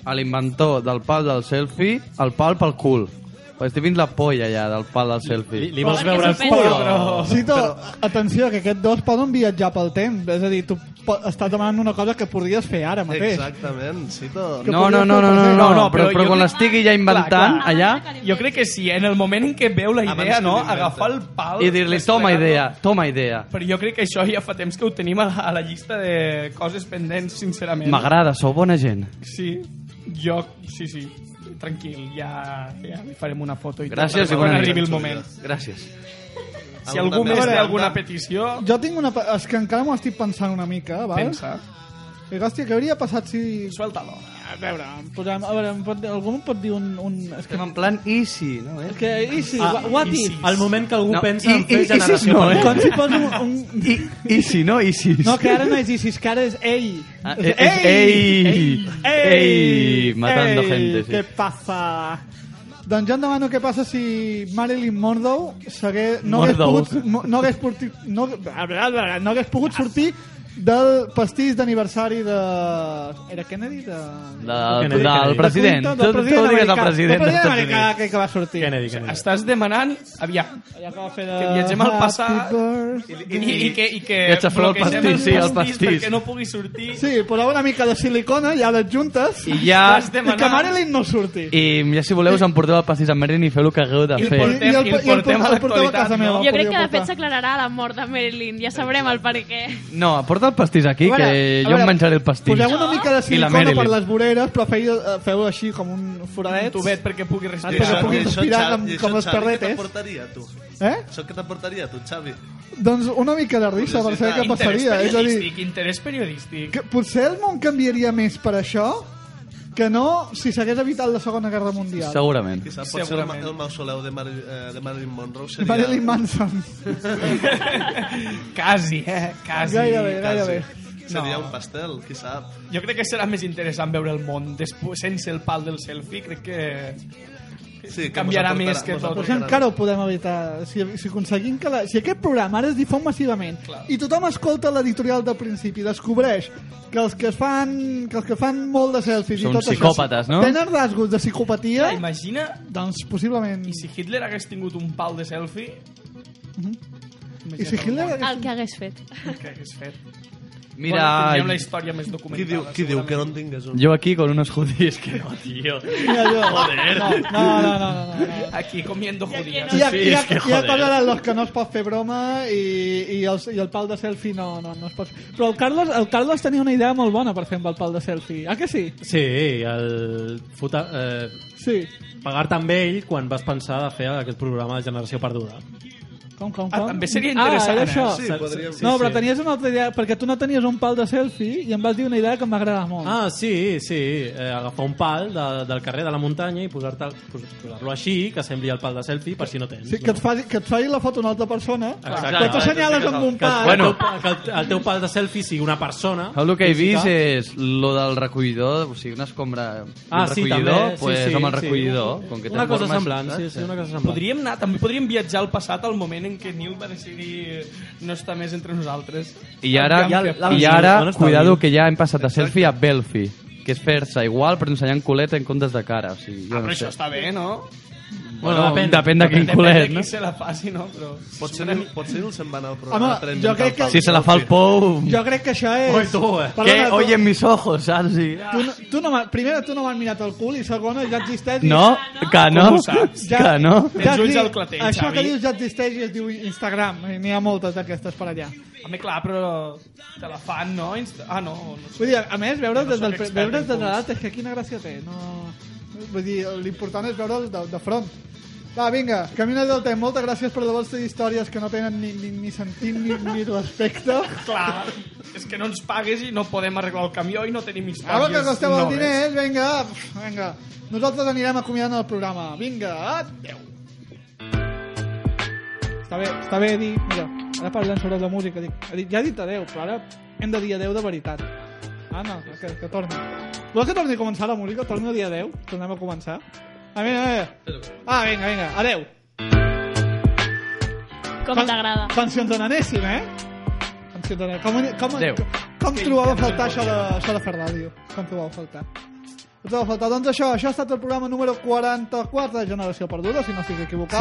Speaker 7: a l'inventor del pal del selfie el pal pel cul. Perquè estic fins la polla ja del pal del selfie.
Speaker 2: li vols veure el cul?
Speaker 1: Però, Cito, atenció, que aquests dos poden viatjar pel temps. És a dir, tu po- estàs demanant una cosa que podries fer ara mateix.
Speaker 14: Exactament, sí, tot.
Speaker 7: No, no, no, no, no, no, no, però, però
Speaker 15: jo
Speaker 7: quan
Speaker 15: crec-
Speaker 7: l'estigui ja inventant clar, clar.
Speaker 15: Jo crec que sí, en el moment en què veu la idea, no?
Speaker 7: que l'inventa.
Speaker 15: Agafar el pal...
Speaker 7: allà i dir-li toma
Speaker 15: desplegar-lo".
Speaker 7: idea, toma idea.
Speaker 15: Però jo crec que això ja fa temps que ho tenim a la, a la llista de coses pendents, sincerament.
Speaker 7: M'agrada, sou bona gent.
Speaker 15: Sí, jo... Sí, sí. Tranquil, ja, ja li farem una foto. I tot,
Speaker 7: Gràcies
Speaker 15: perquè
Speaker 7: i bona
Speaker 15: quan
Speaker 7: nit.
Speaker 15: arribi el moment.
Speaker 7: Gràcies.
Speaker 15: Si algú més té
Speaker 1: Veure,
Speaker 15: alguna petició...
Speaker 1: Jo tinc una... pe- És que encara m'ho estic pensant una mica, val?
Speaker 15: Pensa.
Speaker 1: Dic, hòstia, què hauria passat si...
Speaker 15: Suelta-lo.
Speaker 1: A veure, em posem, a veure em pot, algú em pot dir un... un és que...
Speaker 7: En plan easy, no? Eh?
Speaker 1: És que easy,
Speaker 2: Ah,
Speaker 1: what
Speaker 2: i
Speaker 1: if?
Speaker 2: si- Al moment que algú
Speaker 7: No,
Speaker 2: pensa
Speaker 7: i-
Speaker 2: en fer
Speaker 7: i- i si
Speaker 2: generació.
Speaker 7: no, eh?
Speaker 2: per
Speaker 1: Com
Speaker 2: ell.
Speaker 1: si poso un... un...
Speaker 7: I, easy, no easy.
Speaker 1: No, que ara no és easy, és que ara és ell.
Speaker 7: Ah, és- és ell. Ell, matando
Speaker 1: ey,
Speaker 7: gente, sí.
Speaker 1: Què passa? Doncs jo em demano què passa si Marilyn Monroe s'hagué- no, hagués
Speaker 7: Monroe.
Speaker 1: pogut, mo- no, hagués porti- no, no hagués pogut sortir del pastís d'aniversari de... Era Kennedy? De...
Speaker 7: Del,
Speaker 15: Kennedy,
Speaker 7: del
Speaker 15: Kennedy.
Speaker 7: president.
Speaker 1: Del
Speaker 7: Tu, tu
Speaker 1: president
Speaker 7: digues el president. dels
Speaker 1: americà. Del president
Speaker 7: Estats
Speaker 1: americà
Speaker 7: Units.
Speaker 1: que, que va sortir.
Speaker 2: Kennedy, Kennedy.
Speaker 15: Estàs demanant, aviam,
Speaker 1: que
Speaker 15: viatgem al passat i, i, i, que, i que
Speaker 7: I aixafar el
Speaker 15: bloquegem
Speaker 7: pastís, sí, el pastís.
Speaker 15: perquè no pugui sortir
Speaker 1: Sí, poseu una mica de silicona i ara juntes
Speaker 7: I ja-
Speaker 1: i que Marilyn no surti.
Speaker 7: I ja si voleu us emporteu el pastís a Merlin i feu el que hagueu de
Speaker 1: I el
Speaker 7: fer.
Speaker 1: portem- I el- i el i el portem a portem- el portem a casa meva.
Speaker 4: Jo crec
Speaker 1: podria
Speaker 4: que de fet
Speaker 1: portar.
Speaker 4: s'aclararà la mort de Marilyn, ja sabrem el per què.
Speaker 7: No, porta el pastís aquí,
Speaker 1: A
Speaker 7: que
Speaker 1: veure, a
Speaker 7: Eh, jo em
Speaker 1: veure,
Speaker 7: menjaré el pastís.
Speaker 1: Poseu una mica
Speaker 7: I
Speaker 1: de
Speaker 7: la
Speaker 1: silicona per
Speaker 7: Marilyn.
Speaker 1: les voreres, però feu, eh, feu així com un foradet.
Speaker 15: un tubet perquè pugui respirar.
Speaker 14: Ah,
Speaker 1: Perquè
Speaker 14: I
Speaker 1: Ah, pugui
Speaker 14: això,
Speaker 1: respirar
Speaker 14: Xavi,
Speaker 1: com,
Speaker 14: i això,
Speaker 1: com les
Speaker 14: Xavi, què
Speaker 1: perretes.
Speaker 14: t'aportaria, tu?
Speaker 1: Eh?
Speaker 14: Això què t'aportaria, tu, Xavi?
Speaker 1: Doncs una mica de risa per saber què passaria. És a dir,
Speaker 15: periodístic, interès periodístic.
Speaker 1: que potser el món canviaria més per això que no si s'hagués evitat la Segona Guerra Mundial.
Speaker 7: Segurament.
Speaker 14: Quizá pot ser el, ma- el mausoleu de, Mar eh, de Marilyn Monroe seria...
Speaker 1: Marilyn Manson.
Speaker 15: Quasi, eh? Quasi.
Speaker 1: Gairebé,
Speaker 15: quasi.
Speaker 1: gairebé.
Speaker 14: Seria
Speaker 15: No.
Speaker 14: un pastel, qui sap.
Speaker 15: Jo crec que serà més interessant veure el món després, sense el pal del selfie. Crec que
Speaker 14: Sí, que
Speaker 15: canviarà
Speaker 14: mos aportarà-
Speaker 15: més que
Speaker 14: mos
Speaker 15: tot.
Speaker 1: Potser Doncs encara ho podem evitar. Si, si aconseguim que la, si aquest programa ara es difon massivament i tothom escolta l'editorial del principi i descobreix que els que es fan, que els que fan molt de selfies
Speaker 7: Són
Speaker 1: i tot
Speaker 7: psicòpates,
Speaker 1: això,
Speaker 7: no?
Speaker 1: tenen rasgos de psicopatia,
Speaker 15: Ah, imagina
Speaker 1: doncs possiblement...
Speaker 15: i si Hitler hagués tingut un pal de selfie,
Speaker 1: Mhm. I si Hitler...
Speaker 4: El que hagués fet.
Speaker 15: què hagués fet?
Speaker 7: Mira,
Speaker 15: bueno, tindríem la
Speaker 7: ai.
Speaker 15: història més
Speaker 14: Qui
Speaker 15: documentada.
Speaker 14: diu, qui diu que no en tingués un?
Speaker 7: Jo aquí con unos judíos que no, tío.
Speaker 1: Mira jo.
Speaker 7: Joder.
Speaker 1: No, no, no, no, no, no.
Speaker 15: Aquí comiendo judías.
Speaker 1: Hi ha, hi ha,
Speaker 7: és que
Speaker 1: hi ha
Speaker 7: joder.
Speaker 1: coses en les que no es pot fer broma i, i, el, i el pal de selfie no, no, no es pot... Però el Carles, el Carles tenia una idea molt bona per fer amb el pal de selfie. Ah, que sí?
Speaker 2: Sí, el futa, eh,
Speaker 1: Sí.
Speaker 2: pagar també ell quan vas pensar de fer aquest programa de Generació Perduda.
Speaker 1: Com, com, com?
Speaker 15: Ah, també seria interessant,
Speaker 1: Ah, era això.
Speaker 15: eh?
Speaker 14: Sí, podríem-
Speaker 1: No,
Speaker 2: sí,
Speaker 1: però
Speaker 2: sí.
Speaker 1: tenies una altra idea, perquè tu no tenies un pal de selfie i em vas dir una idea que em va agradar molt.
Speaker 2: Ah, sí, sí. Eh, agafar un pal de, del carrer de la muntanya i posar-te- pos- posar-lo posar així, que sembli el pal de selfie, per si no tens.
Speaker 1: sí, que, et faci, que et faci la foto una altra persona,
Speaker 2: Exacte.
Speaker 1: però tu assenyales amb un
Speaker 2: Que,
Speaker 1: pal.
Speaker 2: bueno. que el, el teu pal de selfie sigui una persona...
Speaker 7: Jo el que he vist
Speaker 2: física.
Speaker 7: és lo del recollidor, o sigui, una escombra...
Speaker 2: Ah,
Speaker 7: un
Speaker 2: sí,
Speaker 7: recollidor,
Speaker 2: també, sí,
Speaker 7: pues,
Speaker 2: sí,
Speaker 7: amb el
Speaker 2: sí.
Speaker 7: recollidor. Com que té
Speaker 2: Una cosa
Speaker 7: formes,
Speaker 2: semblant,
Speaker 7: saps?
Speaker 2: sí, sí,
Speaker 14: eh?
Speaker 2: una cosa semblant.
Speaker 15: Podríem anar, també podríem viatjar al passat al moment en què Nil va decidir no estar més entre nosaltres.
Speaker 7: I ara,
Speaker 15: Aviam què passa.
Speaker 7: i
Speaker 2: on
Speaker 7: ara
Speaker 2: està
Speaker 7: cuidado
Speaker 2: Bill?
Speaker 7: que ja hem passat de selfie a Belfi, que és fer-se igual però ensenyant culet en comptes de cara. O sigui, jo
Speaker 15: Ah, però
Speaker 7: no sé.
Speaker 15: això està bé, no?
Speaker 7: Bueno, depèn, depèn de quin
Speaker 15: Depèn de
Speaker 7: culet,
Speaker 15: qui
Speaker 7: no?
Speaker 15: se la faci, no? Però...
Speaker 14: Potser, Nil- potser Nil se'n va anar al
Speaker 1: Home,
Speaker 14: programa per
Speaker 1: jo
Speaker 14: inventar
Speaker 1: crec
Speaker 14: el
Speaker 1: que...
Speaker 14: pal.
Speaker 7: Si se la fa el pou...
Speaker 1: Jo crec que això és...
Speaker 2: Oi, tu, eh?
Speaker 1: Perdona,
Speaker 7: Que
Speaker 1: tu-
Speaker 7: oyen mis ojos, saps? Sí.
Speaker 1: Tu no, tu no m'ha- primera, tu no m'has mirat el cul i segona, ja existeix... i-
Speaker 7: No, que no,
Speaker 15: ho saps?
Speaker 7: que no.
Speaker 15: Tens ulls
Speaker 1: exi-
Speaker 15: al clatell,
Speaker 1: Això
Speaker 15: Xavi.
Speaker 1: que dius ja existeix i es diu Instagram. i N'hi ha moltes d'aquestes per allà.
Speaker 15: Home, clar, però te la fan, no? Insta... Ah, no. no sé.
Speaker 1: Vull dir, a més, veure's
Speaker 15: Jo no
Speaker 1: des del,
Speaker 15: sóc expert
Speaker 1: veure's
Speaker 15: en
Speaker 1: des de
Speaker 15: culs.
Speaker 1: dalt, és que quina gràcia té. No... Vull dir, l'important és veure'l de, de front. Va, vinga, camina del temps. Moltes gràcies per la vostra històries que no tenen ni, ni, ni sentit ni, ni respecte.
Speaker 15: Clar, és que no ens pagues i no podem arreglar el camió i no tenim eh? històries.
Speaker 1: Ara que costeu els
Speaker 15: noves.
Speaker 1: diners, vinga, pf, vinga. Nosaltres anirem acomiadant el programa. Vinga, adeu. Està bé, està bé dir, mira. ara parlant sobre la música, dic, ha dit- ja he dit adeu, però ara hem de dir adeu de veritat. Ah, no, que, que torni. Vols que torni a començar la música? Torno a dir adeu? Tornem a començar? Ah, vinga, vinga. Ah, vinga, vinga, adeu.
Speaker 4: Com
Speaker 1: Can-
Speaker 4: t'agrada.
Speaker 1: Cancions de nanéssim, eh? Cancions de nanéssim. Com, com,
Speaker 7: Adeu.
Speaker 1: com trobava a faltar això de, això de fer ràdio? Com trobava a faltar? Us trobava a faltar. Doncs això, això ha estat el programa número 44 de Generació Perduda, si no estic equivocat.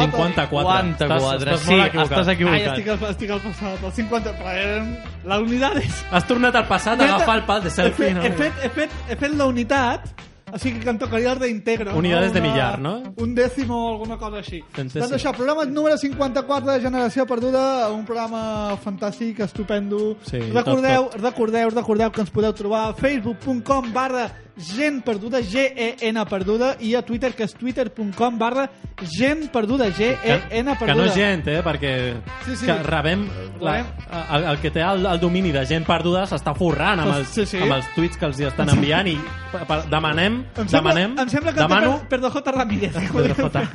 Speaker 7: 54,
Speaker 2: 54. eh, Estàs- estàs
Speaker 7: sí,
Speaker 2: molt equivocat.
Speaker 7: estàs equivocat.
Speaker 1: Ai, estic al, estic al passat, al 50, però eren... La unitat és...
Speaker 2: Has tornat al passat a
Speaker 1: Neta,
Speaker 2: agafar el pal de selfie.
Speaker 1: He fet, he fet, he fet, he fet la unitat, així que em tocaria el reintegro.
Speaker 2: Unidades de
Speaker 1: Una-
Speaker 2: millar, no?
Speaker 1: Un dècimo o alguna cosa així.
Speaker 2: Centèsim.
Speaker 1: Doncs això, programa número 54 de Generació Perduda, un programa fantàstic, estupendo.
Speaker 2: Sí,
Speaker 1: recordeu,
Speaker 2: tot,
Speaker 1: recordeu, recordeu que ens podeu trobar a facebook.com barra gent perduda, G-E-N perduda, i a Twitter, que és twitter.com barra gent perduda, G-E-N perduda.
Speaker 2: Que no és gent, eh? Perquè
Speaker 1: Eh, Sí, sí.
Speaker 2: que rebem la,
Speaker 1: Ah.
Speaker 2: el, el que té el, el domini de gent perduda s'està forrant amb els,
Speaker 1: Sí, sí.
Speaker 2: amb els tuits que els hi estan enviant i pa- pa- demanem,
Speaker 1: Em sembla,
Speaker 2: demanem,
Speaker 1: em sembla que
Speaker 2: demano...
Speaker 1: Per, Pedro J. Ramírez. Pedro J.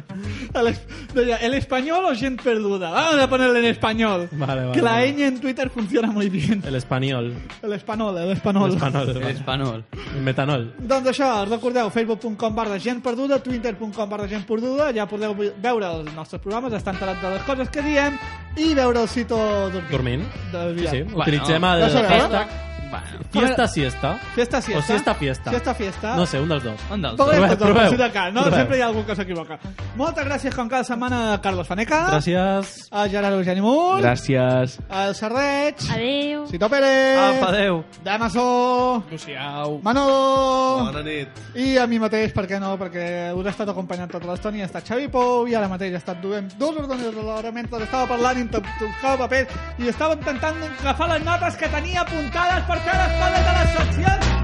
Speaker 1: El, es- deia, ¿El español o gent perduda? Vamos a ponerle en español.
Speaker 2: Vale, vale.
Speaker 1: que la E- ñ en Twitter funciona muy bien.
Speaker 2: El espanyol.
Speaker 1: El espanol, el espanol.
Speaker 2: L'espanol. eh, L'espanol. Metanol.
Speaker 1: eh, Doncs això, recordeu, facebook.com barra gent perduda, twitter.com barra gent perduda, ja podeu vi- veure els nostres programes, estar enterats de les coses que diem i veure el sito dormint.
Speaker 2: Dormint.
Speaker 1: Del
Speaker 2: Sí,
Speaker 1: viat.
Speaker 2: sí.
Speaker 1: Bueno.
Speaker 2: Utilitzem el
Speaker 1: Ja sabeu,
Speaker 2: hashtag
Speaker 1: Bueno.
Speaker 2: fiesta siesta.
Speaker 1: Fiesta siesta.
Speaker 2: O siesta fiesta.
Speaker 1: Siesta fiesta.
Speaker 2: No sé, un dels dos.
Speaker 1: Un dels
Speaker 2: Proveu,
Speaker 1: Proveu,
Speaker 2: proveu.
Speaker 1: de cal, no?
Speaker 2: Proveu.
Speaker 1: Sempre hi ha algú que s'equivoca. Moltes gràcies com cada setmana a Carlos Faneca.
Speaker 2: Gràcies.
Speaker 1: A Gerard Eugeni Munt.
Speaker 11: Gràcies.
Speaker 1: Al Serreig.
Speaker 4: Adéu.
Speaker 1: Cito Pérez.
Speaker 7: Apa, adéu.
Speaker 1: Damaso.
Speaker 15: Luciau.
Speaker 1: Manolo.
Speaker 14: Bona nit.
Speaker 1: I a mi mateix, per què no? Perquè us he estat acompanyant tota l'estona i ha estat Xavi Pou i ara mateix he estat duent dos ordinadors alhora mentre estava parlant i em tocava paper i estava intentant agafar les notes que tenia apuntades per cadascuna de les seccions